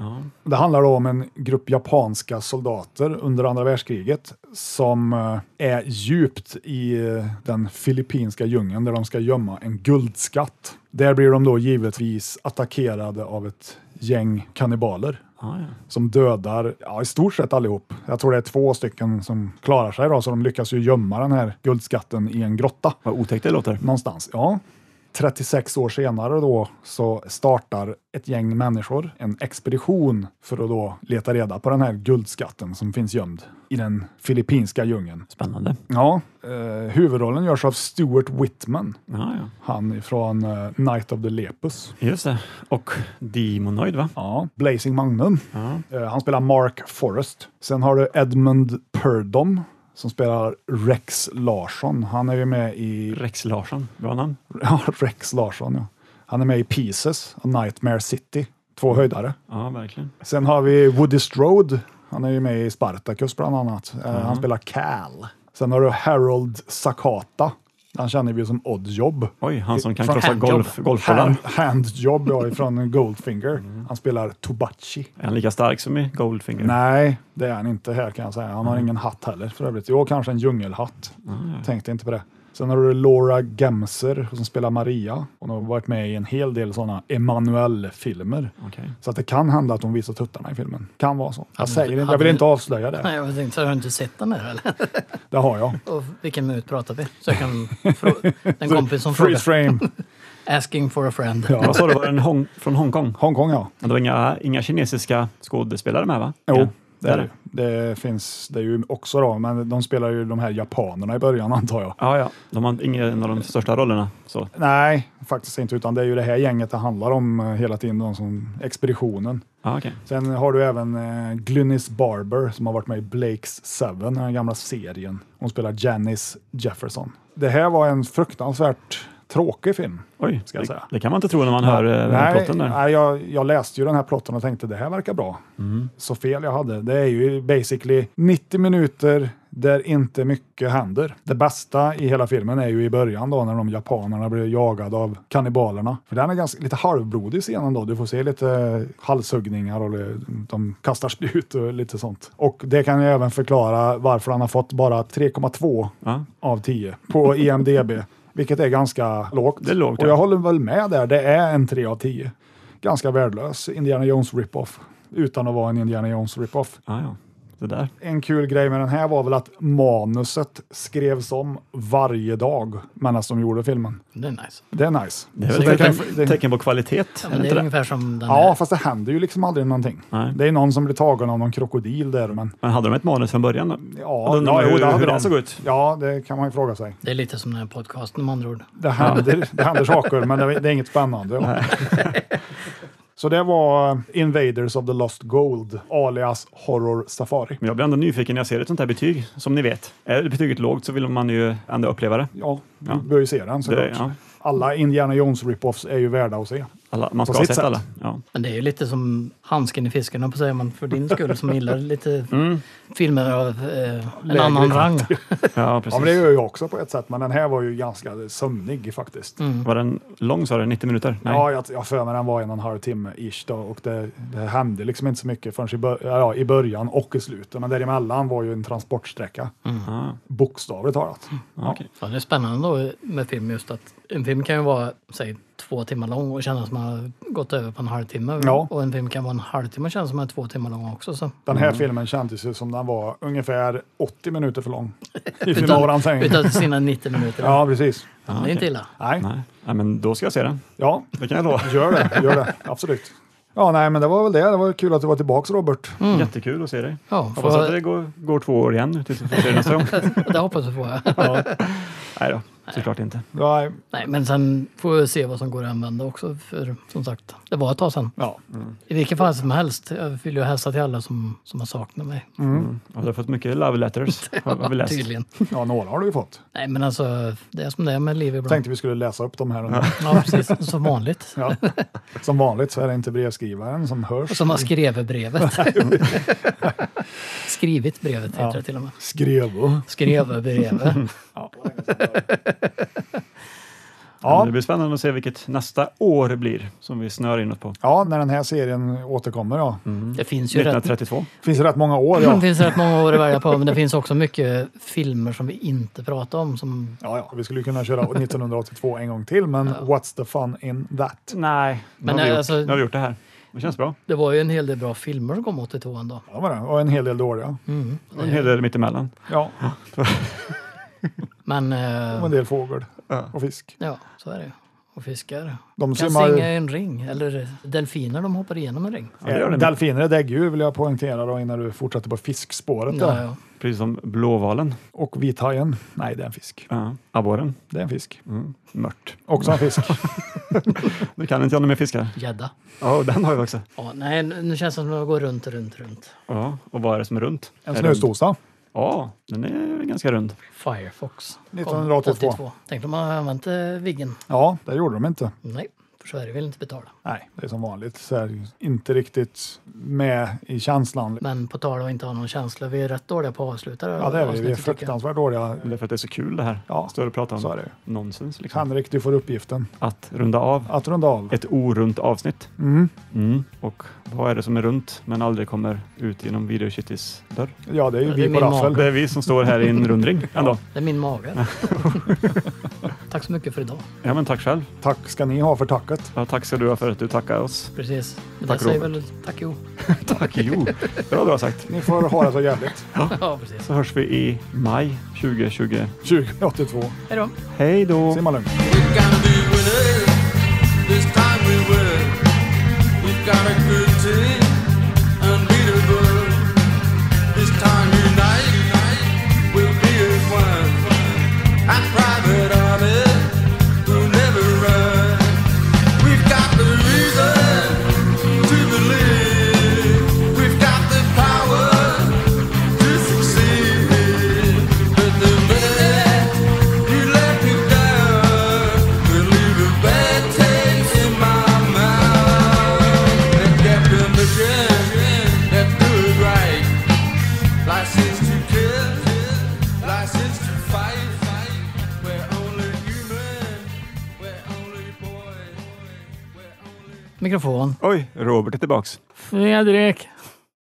[SPEAKER 2] Det handlar då om en grupp japanska soldater under andra världskriget som eh, är djupt i eh, den filippinska djungeln där de ska gömma en guldskatt. Där blir de då givetvis attackerade av ett gäng kannibaler som dödar ja, i stort sett allihop. Jag tror det är två stycken som klarar sig då, så de lyckas ju gömma den här guldskatten i en grotta.
[SPEAKER 3] Vad otäckt det låter.
[SPEAKER 2] Någonstans, ja. 36 år senare då så startar ett gäng människor en expedition för att då leta reda på den här guldskatten som finns gömd i den filippinska djungeln.
[SPEAKER 3] Spännande.
[SPEAKER 2] Ja, eh, huvudrollen görs av Stuart Whitman.
[SPEAKER 3] Ja, ja.
[SPEAKER 2] Han från eh, Night of the Lepus.
[SPEAKER 3] Just det. Och Demonoid va?
[SPEAKER 2] Ja, Blazing Magnum. Eh, Han spelar Mark Forrest. Sen har du Edmund Purdom som spelar Rex Larsson. Han är ju med i...
[SPEAKER 3] Rex Larsson, bra namn.
[SPEAKER 2] Ja, Rex Larsson, ja. Han är med i Pieces och Nightmare City. Två höjdare.
[SPEAKER 3] Ja, verkligen.
[SPEAKER 2] Sen har vi Woody Strode. Han är ju med i Spartacus bland annat. Eh,
[SPEAKER 3] Mm.
[SPEAKER 2] Han spelar Cal. Sen har du Harold Sakata. Han känner vi ju som Oddjob.
[SPEAKER 3] Oj, han som kan
[SPEAKER 2] Från
[SPEAKER 3] krossa
[SPEAKER 2] Handjob.
[SPEAKER 3] golf, golfbollar.
[SPEAKER 2] Hand, handjob, ja, från Goldfinger.
[SPEAKER 3] Mm.
[SPEAKER 2] Han spelar Tobachi.
[SPEAKER 3] Är han lika stark som i Goldfinger?
[SPEAKER 2] Nej, det är han inte här kan jag säga. Han
[SPEAKER 4] Mm.
[SPEAKER 2] har ingen hatt heller för övrigt. Jo, kanske en djungelhatt. Tänkte inte på det. Sen har du Laura Gemser som spelar Maria. Hon har varit med i en hel del sådana Emanuel-filmer.
[SPEAKER 4] Mm.
[SPEAKER 3] Okej.
[SPEAKER 2] Så att det kan hända att hon visar tuttarna i filmen. Kan vara så. Jag,
[SPEAKER 4] Hade-
[SPEAKER 2] säger, inte- jag
[SPEAKER 4] Mm. hade-
[SPEAKER 2] vill inte avslöja
[SPEAKER 4] Nej,
[SPEAKER 2] det.
[SPEAKER 4] jag tänkte, har du inte sett den här eller?
[SPEAKER 2] Det har jag.
[SPEAKER 4] Och vilken minut pratar vi? Så jag kan frå- den kompis som
[SPEAKER 2] Freeze
[SPEAKER 4] frågar.
[SPEAKER 2] frame.
[SPEAKER 4] Asking for a friend.
[SPEAKER 2] Ja.
[SPEAKER 3] Vad sa du, var den Hong, från Hongkong?
[SPEAKER 2] Hongkong, ja.
[SPEAKER 3] Det var inga, inga kinesiska skådespelare med va?
[SPEAKER 2] Jo,
[SPEAKER 3] Ja,
[SPEAKER 2] det, är det. det finns det är ju också då, men de spelar ju de här japanerna i början antar jag.
[SPEAKER 3] Ja, ja. De har ingen av de största rollerna. Så.
[SPEAKER 2] Nej, faktiskt inte, utan det är ju det här gänget det handlar om eh, hela tiden, de som expeditionen.
[SPEAKER 3] Ja, okej.
[SPEAKER 2] Sen har du även eh, Glynis Barber som har varit med i Blakes Seven, den gamla serien. Hon spelar Janice Jefferson. Det här var en fruktansvärt tråkig film.
[SPEAKER 3] Oj,
[SPEAKER 2] Ska jag
[SPEAKER 3] det,
[SPEAKER 2] säga.
[SPEAKER 3] det kan man inte tro när man hör eh,
[SPEAKER 2] nej,
[SPEAKER 3] plotten där.
[SPEAKER 2] nej jag, jag läste ju den här plotten och tänkte det här verkar bra.
[SPEAKER 3] Mm.
[SPEAKER 2] Så fel jag hade. Det är ju basically 90 minuter där inte mycket händer. Det bästa i hela filmen är ju i början då när de japanerna blir jagade av kannibalerna. För den är ganska, lite halvblodig scenen då. Du får se lite halshuggningar och det- de kastar spjut och lite sånt. Och det kan ju även förklara varför han har fått bara 3,2
[SPEAKER 3] Ja.
[SPEAKER 2] av 10 på E IMDB. Vilket är ganska lågt.
[SPEAKER 3] Det är lågt,
[SPEAKER 2] och
[SPEAKER 3] ja.
[SPEAKER 2] jag håller väl med där, det är en 3 av 10. Ganska värdelös Indiana Jones rip-off. Utan att vara en Indiana Jones rip-off.
[SPEAKER 3] Ja, ja. Det där.
[SPEAKER 2] En kul grej med den här var väl att manuset skrevs om varje dag medan de gjorde filmen.
[SPEAKER 4] Det är nice.
[SPEAKER 2] Det är nice.
[SPEAKER 3] Det är väl
[SPEAKER 2] Så
[SPEAKER 3] ett
[SPEAKER 2] kan-
[SPEAKER 3] tecken,
[SPEAKER 2] det-
[SPEAKER 3] tecken på kvalitet.
[SPEAKER 4] Ja,
[SPEAKER 3] är
[SPEAKER 4] men
[SPEAKER 3] det
[SPEAKER 4] det
[SPEAKER 3] inte
[SPEAKER 4] är
[SPEAKER 3] det?
[SPEAKER 4] ungefär som den
[SPEAKER 2] Ja,
[SPEAKER 4] här.
[SPEAKER 2] fast det händer ju liksom aldrig någonting.
[SPEAKER 3] Nej.
[SPEAKER 2] Det är någon som blir tagen av någon krokodil där. Men
[SPEAKER 3] Men hade de ett manus från början? då?
[SPEAKER 2] ja,
[SPEAKER 3] Undrar man
[SPEAKER 2] jo,
[SPEAKER 3] hur,
[SPEAKER 2] det hade
[SPEAKER 3] hur
[SPEAKER 2] de.
[SPEAKER 3] det såg ut.
[SPEAKER 2] ja, det kan man ju fråga sig.
[SPEAKER 4] Det är lite som den här podcasten med andra ord.
[SPEAKER 2] Det händer, det händer saker, men det, det är inget spännande. Så det var Invaders of the Lost Gold, alias Horror Safari.
[SPEAKER 3] Men jag blir ändå nyfiken när jag ser ett sånt här betyg. Som ni vet, är betyget lågt så vill man ju ändå uppleva det.
[SPEAKER 2] Ja, du
[SPEAKER 3] Ja.
[SPEAKER 2] bör ju se den såklart.
[SPEAKER 3] Det- ja.
[SPEAKER 2] Alla Indiana Jones rip-offs är ju värda att se.
[SPEAKER 3] Alla, man ska
[SPEAKER 2] På
[SPEAKER 3] ha
[SPEAKER 2] sitt
[SPEAKER 3] sett
[SPEAKER 2] sätt.
[SPEAKER 3] alla. Ja.
[SPEAKER 4] Men det är ju lite som handsken i fisken, på säger man, för din skull som gillar lite filmer av eh, en
[SPEAKER 2] Mm. Lägre
[SPEAKER 4] annan rang.
[SPEAKER 2] kvalitet.
[SPEAKER 3] Ja,
[SPEAKER 2] Ja,
[SPEAKER 3] precis.
[SPEAKER 2] men det gör jag också på ett sätt, men den här var ju ganska sömnig faktiskt.
[SPEAKER 3] Var den lång sa du? 90 minuter? Nej.
[SPEAKER 2] Ja, jag jag har för mig den var en och en halv timme ish då, och det, det hände liksom inte så mycket förrän i, bör- ja, i början och i slutet, men däremellan var ju en transportsträcka.
[SPEAKER 3] Ah,
[SPEAKER 2] Bokstavligt talat.
[SPEAKER 3] ah, okej.
[SPEAKER 4] Ja, det är spännande då med film just att en film kan ju vara, säg två timmar lång och känna att man har gått över på en halvtimme.
[SPEAKER 2] Ja.
[SPEAKER 4] Och en film kan vara en halvtimme och kännas som en två timmar lång också. Så.
[SPEAKER 2] Den här filmen kändes ju som den var ungefär 80 minuter för lång. I sin
[SPEAKER 4] Utan,
[SPEAKER 2] oransäng.
[SPEAKER 4] utan sina 90 minuter.
[SPEAKER 2] Ja, precis.
[SPEAKER 4] Ja, det är inte illa.
[SPEAKER 2] Nej.
[SPEAKER 3] Nej. Nej, men då ska jag se den.
[SPEAKER 2] Ja,
[SPEAKER 3] Det kan jag lova.
[SPEAKER 2] gör det. Gör det. Absolut. Ja, nej, men det var väl det. Det var kul att du var tillbaka, Robert.
[SPEAKER 4] Mm.
[SPEAKER 3] Jättekul att se dig.
[SPEAKER 4] Ja,
[SPEAKER 3] Hoppas
[SPEAKER 4] får-
[SPEAKER 3] att det går, går två år igen nu tills vi får se dig nästa gång.
[SPEAKER 4] det hoppas jag på.
[SPEAKER 3] Ja. Nej då, såklart inte.
[SPEAKER 2] Nej.
[SPEAKER 4] Nej, men sen får vi se vad som går att använda också. För som sagt, det var ett tag sedan.
[SPEAKER 2] Ja.
[SPEAKER 4] I vilket fall som helst, jag vill ju hälsa till alla som, som har saknat mig.
[SPEAKER 3] Mm. Ja, du har fått mycket love letters. har- har vi läst.
[SPEAKER 4] Tydligen.
[SPEAKER 2] Ja, några har du ju fått.
[SPEAKER 4] Nej, men alltså, det är som det är med liv ibland.
[SPEAKER 2] Tänkte vi skulle läsa upp dem här. och nu.
[SPEAKER 4] Ja, precis. Som vanligt.
[SPEAKER 2] Ja. Som vanligt så är det inte brevskrivaren som hörs.
[SPEAKER 4] Som har skrevet brevet. Skrivit brevet heter
[SPEAKER 2] Ja.
[SPEAKER 4] det till och med.
[SPEAKER 2] Skrevo.
[SPEAKER 4] Skrev brevet.
[SPEAKER 3] Ja. men Det blir spännande att se vilket nästa år blir som vi snör in oss på.
[SPEAKER 2] Ja, när den här serien återkommer ja.
[SPEAKER 4] Det finns ju rätt,
[SPEAKER 3] 1932.
[SPEAKER 2] Finns det rätt många år
[SPEAKER 4] det
[SPEAKER 2] ja.
[SPEAKER 4] finns rätt många år att välja på, men det finns också mycket filmer som vi inte pratar om. Som,
[SPEAKER 2] Ja, ja. Vi skulle ju kunna köra 1982 en gång till, men what's the fun in that?
[SPEAKER 3] Nej,
[SPEAKER 4] Men
[SPEAKER 3] nu, har vi
[SPEAKER 4] alltså-
[SPEAKER 3] gjort, nu har vi gjort det här. Det känns bra.
[SPEAKER 4] det var ju en hel del bra filmer som kom 82 ändå.
[SPEAKER 2] Ja, var det. Och en hel del dåliga.
[SPEAKER 4] Mm.
[SPEAKER 3] Och en hel del mittemellan.
[SPEAKER 2] Ja,
[SPEAKER 4] Men eh,
[SPEAKER 2] och en del fågel och fisk.
[SPEAKER 4] ja, så är det ju. Och fiskar.
[SPEAKER 2] De
[SPEAKER 4] kan
[SPEAKER 2] simmar-
[SPEAKER 4] singa i en ring, eller delfiner de hoppar igenom en ring.
[SPEAKER 3] Ja, det gör det.
[SPEAKER 2] Eh, Delfiner är däggdjur vill jag poängtera då, innan du fortsätter på fiskspåret.
[SPEAKER 4] Ja,
[SPEAKER 2] Där.
[SPEAKER 4] ja.
[SPEAKER 3] Precis som blåvalen.
[SPEAKER 2] Och vithajen. Nej, det är en fisk.
[SPEAKER 3] Ja. Abborren.
[SPEAKER 2] Det är en fisk.
[SPEAKER 3] Mm. Mört.
[SPEAKER 2] Också en fisk.
[SPEAKER 3] Nu kan inte jag några mer fiskar.
[SPEAKER 4] Gädda.
[SPEAKER 3] Ja, och den har vi också.
[SPEAKER 4] Ja, nej, nu nu känns det som att jag går runt, runt, runt.
[SPEAKER 3] Ja, och vad är det som är runt?
[SPEAKER 2] En
[SPEAKER 3] Är det-
[SPEAKER 2] snöstosa.
[SPEAKER 3] Ja, den är ganska rund.
[SPEAKER 4] Firefox. kom
[SPEAKER 2] 1982.
[SPEAKER 4] 82. Tänkte man använt eh, Viggen.
[SPEAKER 2] Ja, det gjorde de inte.
[SPEAKER 4] Nej, för Sverige vill inte betala.
[SPEAKER 2] Nej, det är som vanligt. Så här, inte riktigt med i känslan.
[SPEAKER 4] Men på tal om att inte ha någon känsla, vi är rätt dåliga på att avsluta det här
[SPEAKER 2] Ja, det är vi. Vi är
[SPEAKER 4] avsnittet, tycker jag.
[SPEAKER 2] fruktansvärt dåliga.
[SPEAKER 3] Det är för att det är så kul det här.
[SPEAKER 2] Ja,
[SPEAKER 3] Står och pratar om
[SPEAKER 2] så är det.
[SPEAKER 3] nonsens. Liksom.
[SPEAKER 2] Henrik, du får uppgiften
[SPEAKER 3] Att runda av
[SPEAKER 2] att runda av.
[SPEAKER 3] ett orunt avsnitt.
[SPEAKER 2] Mm.
[SPEAKER 3] Mm. Och vad är det som är runt men aldrig kommer ut genom Videokittis dörr?
[SPEAKER 2] Ja, det är ju
[SPEAKER 4] Ja, det
[SPEAKER 2] vi
[SPEAKER 4] är
[SPEAKER 2] på
[SPEAKER 4] min
[SPEAKER 2] raffel.
[SPEAKER 4] mage.
[SPEAKER 3] Det är vi som står här i en rundring ändå.
[SPEAKER 4] Det är min mage. Tack så mycket för idag.
[SPEAKER 3] Ja, men tack själv.
[SPEAKER 2] Tack ska ni ha för tacket.
[SPEAKER 3] Ja, tack ska du ha för att du tackar oss.
[SPEAKER 4] Precis. Men
[SPEAKER 3] Tack,
[SPEAKER 4] det säger
[SPEAKER 3] Robert.
[SPEAKER 4] väl tack jo.
[SPEAKER 3] Tack, jo. Bra du har sagt.
[SPEAKER 2] Ni får ha det så jävligt.
[SPEAKER 4] Ja, precis.
[SPEAKER 3] Så hörs vi i maj 2020.
[SPEAKER 2] 2082.
[SPEAKER 4] Hej då.
[SPEAKER 3] Hej då!
[SPEAKER 2] Simma lugnt.
[SPEAKER 18] We're gonna be winners. This time we win. We've got a good team, unbeatable. This time unite, we'll be as one. Our private army will never run. We've got the reason to believe. We've got the power to succeed. But the minute you let me down, will leave a bad taste in my mouth. That definition, that do it right. License to kill, license to fight. We're only human, we're only boys.
[SPEAKER 4] Mikrofon.
[SPEAKER 3] Oj, Robert är tillbaks.
[SPEAKER 4] Fredrik.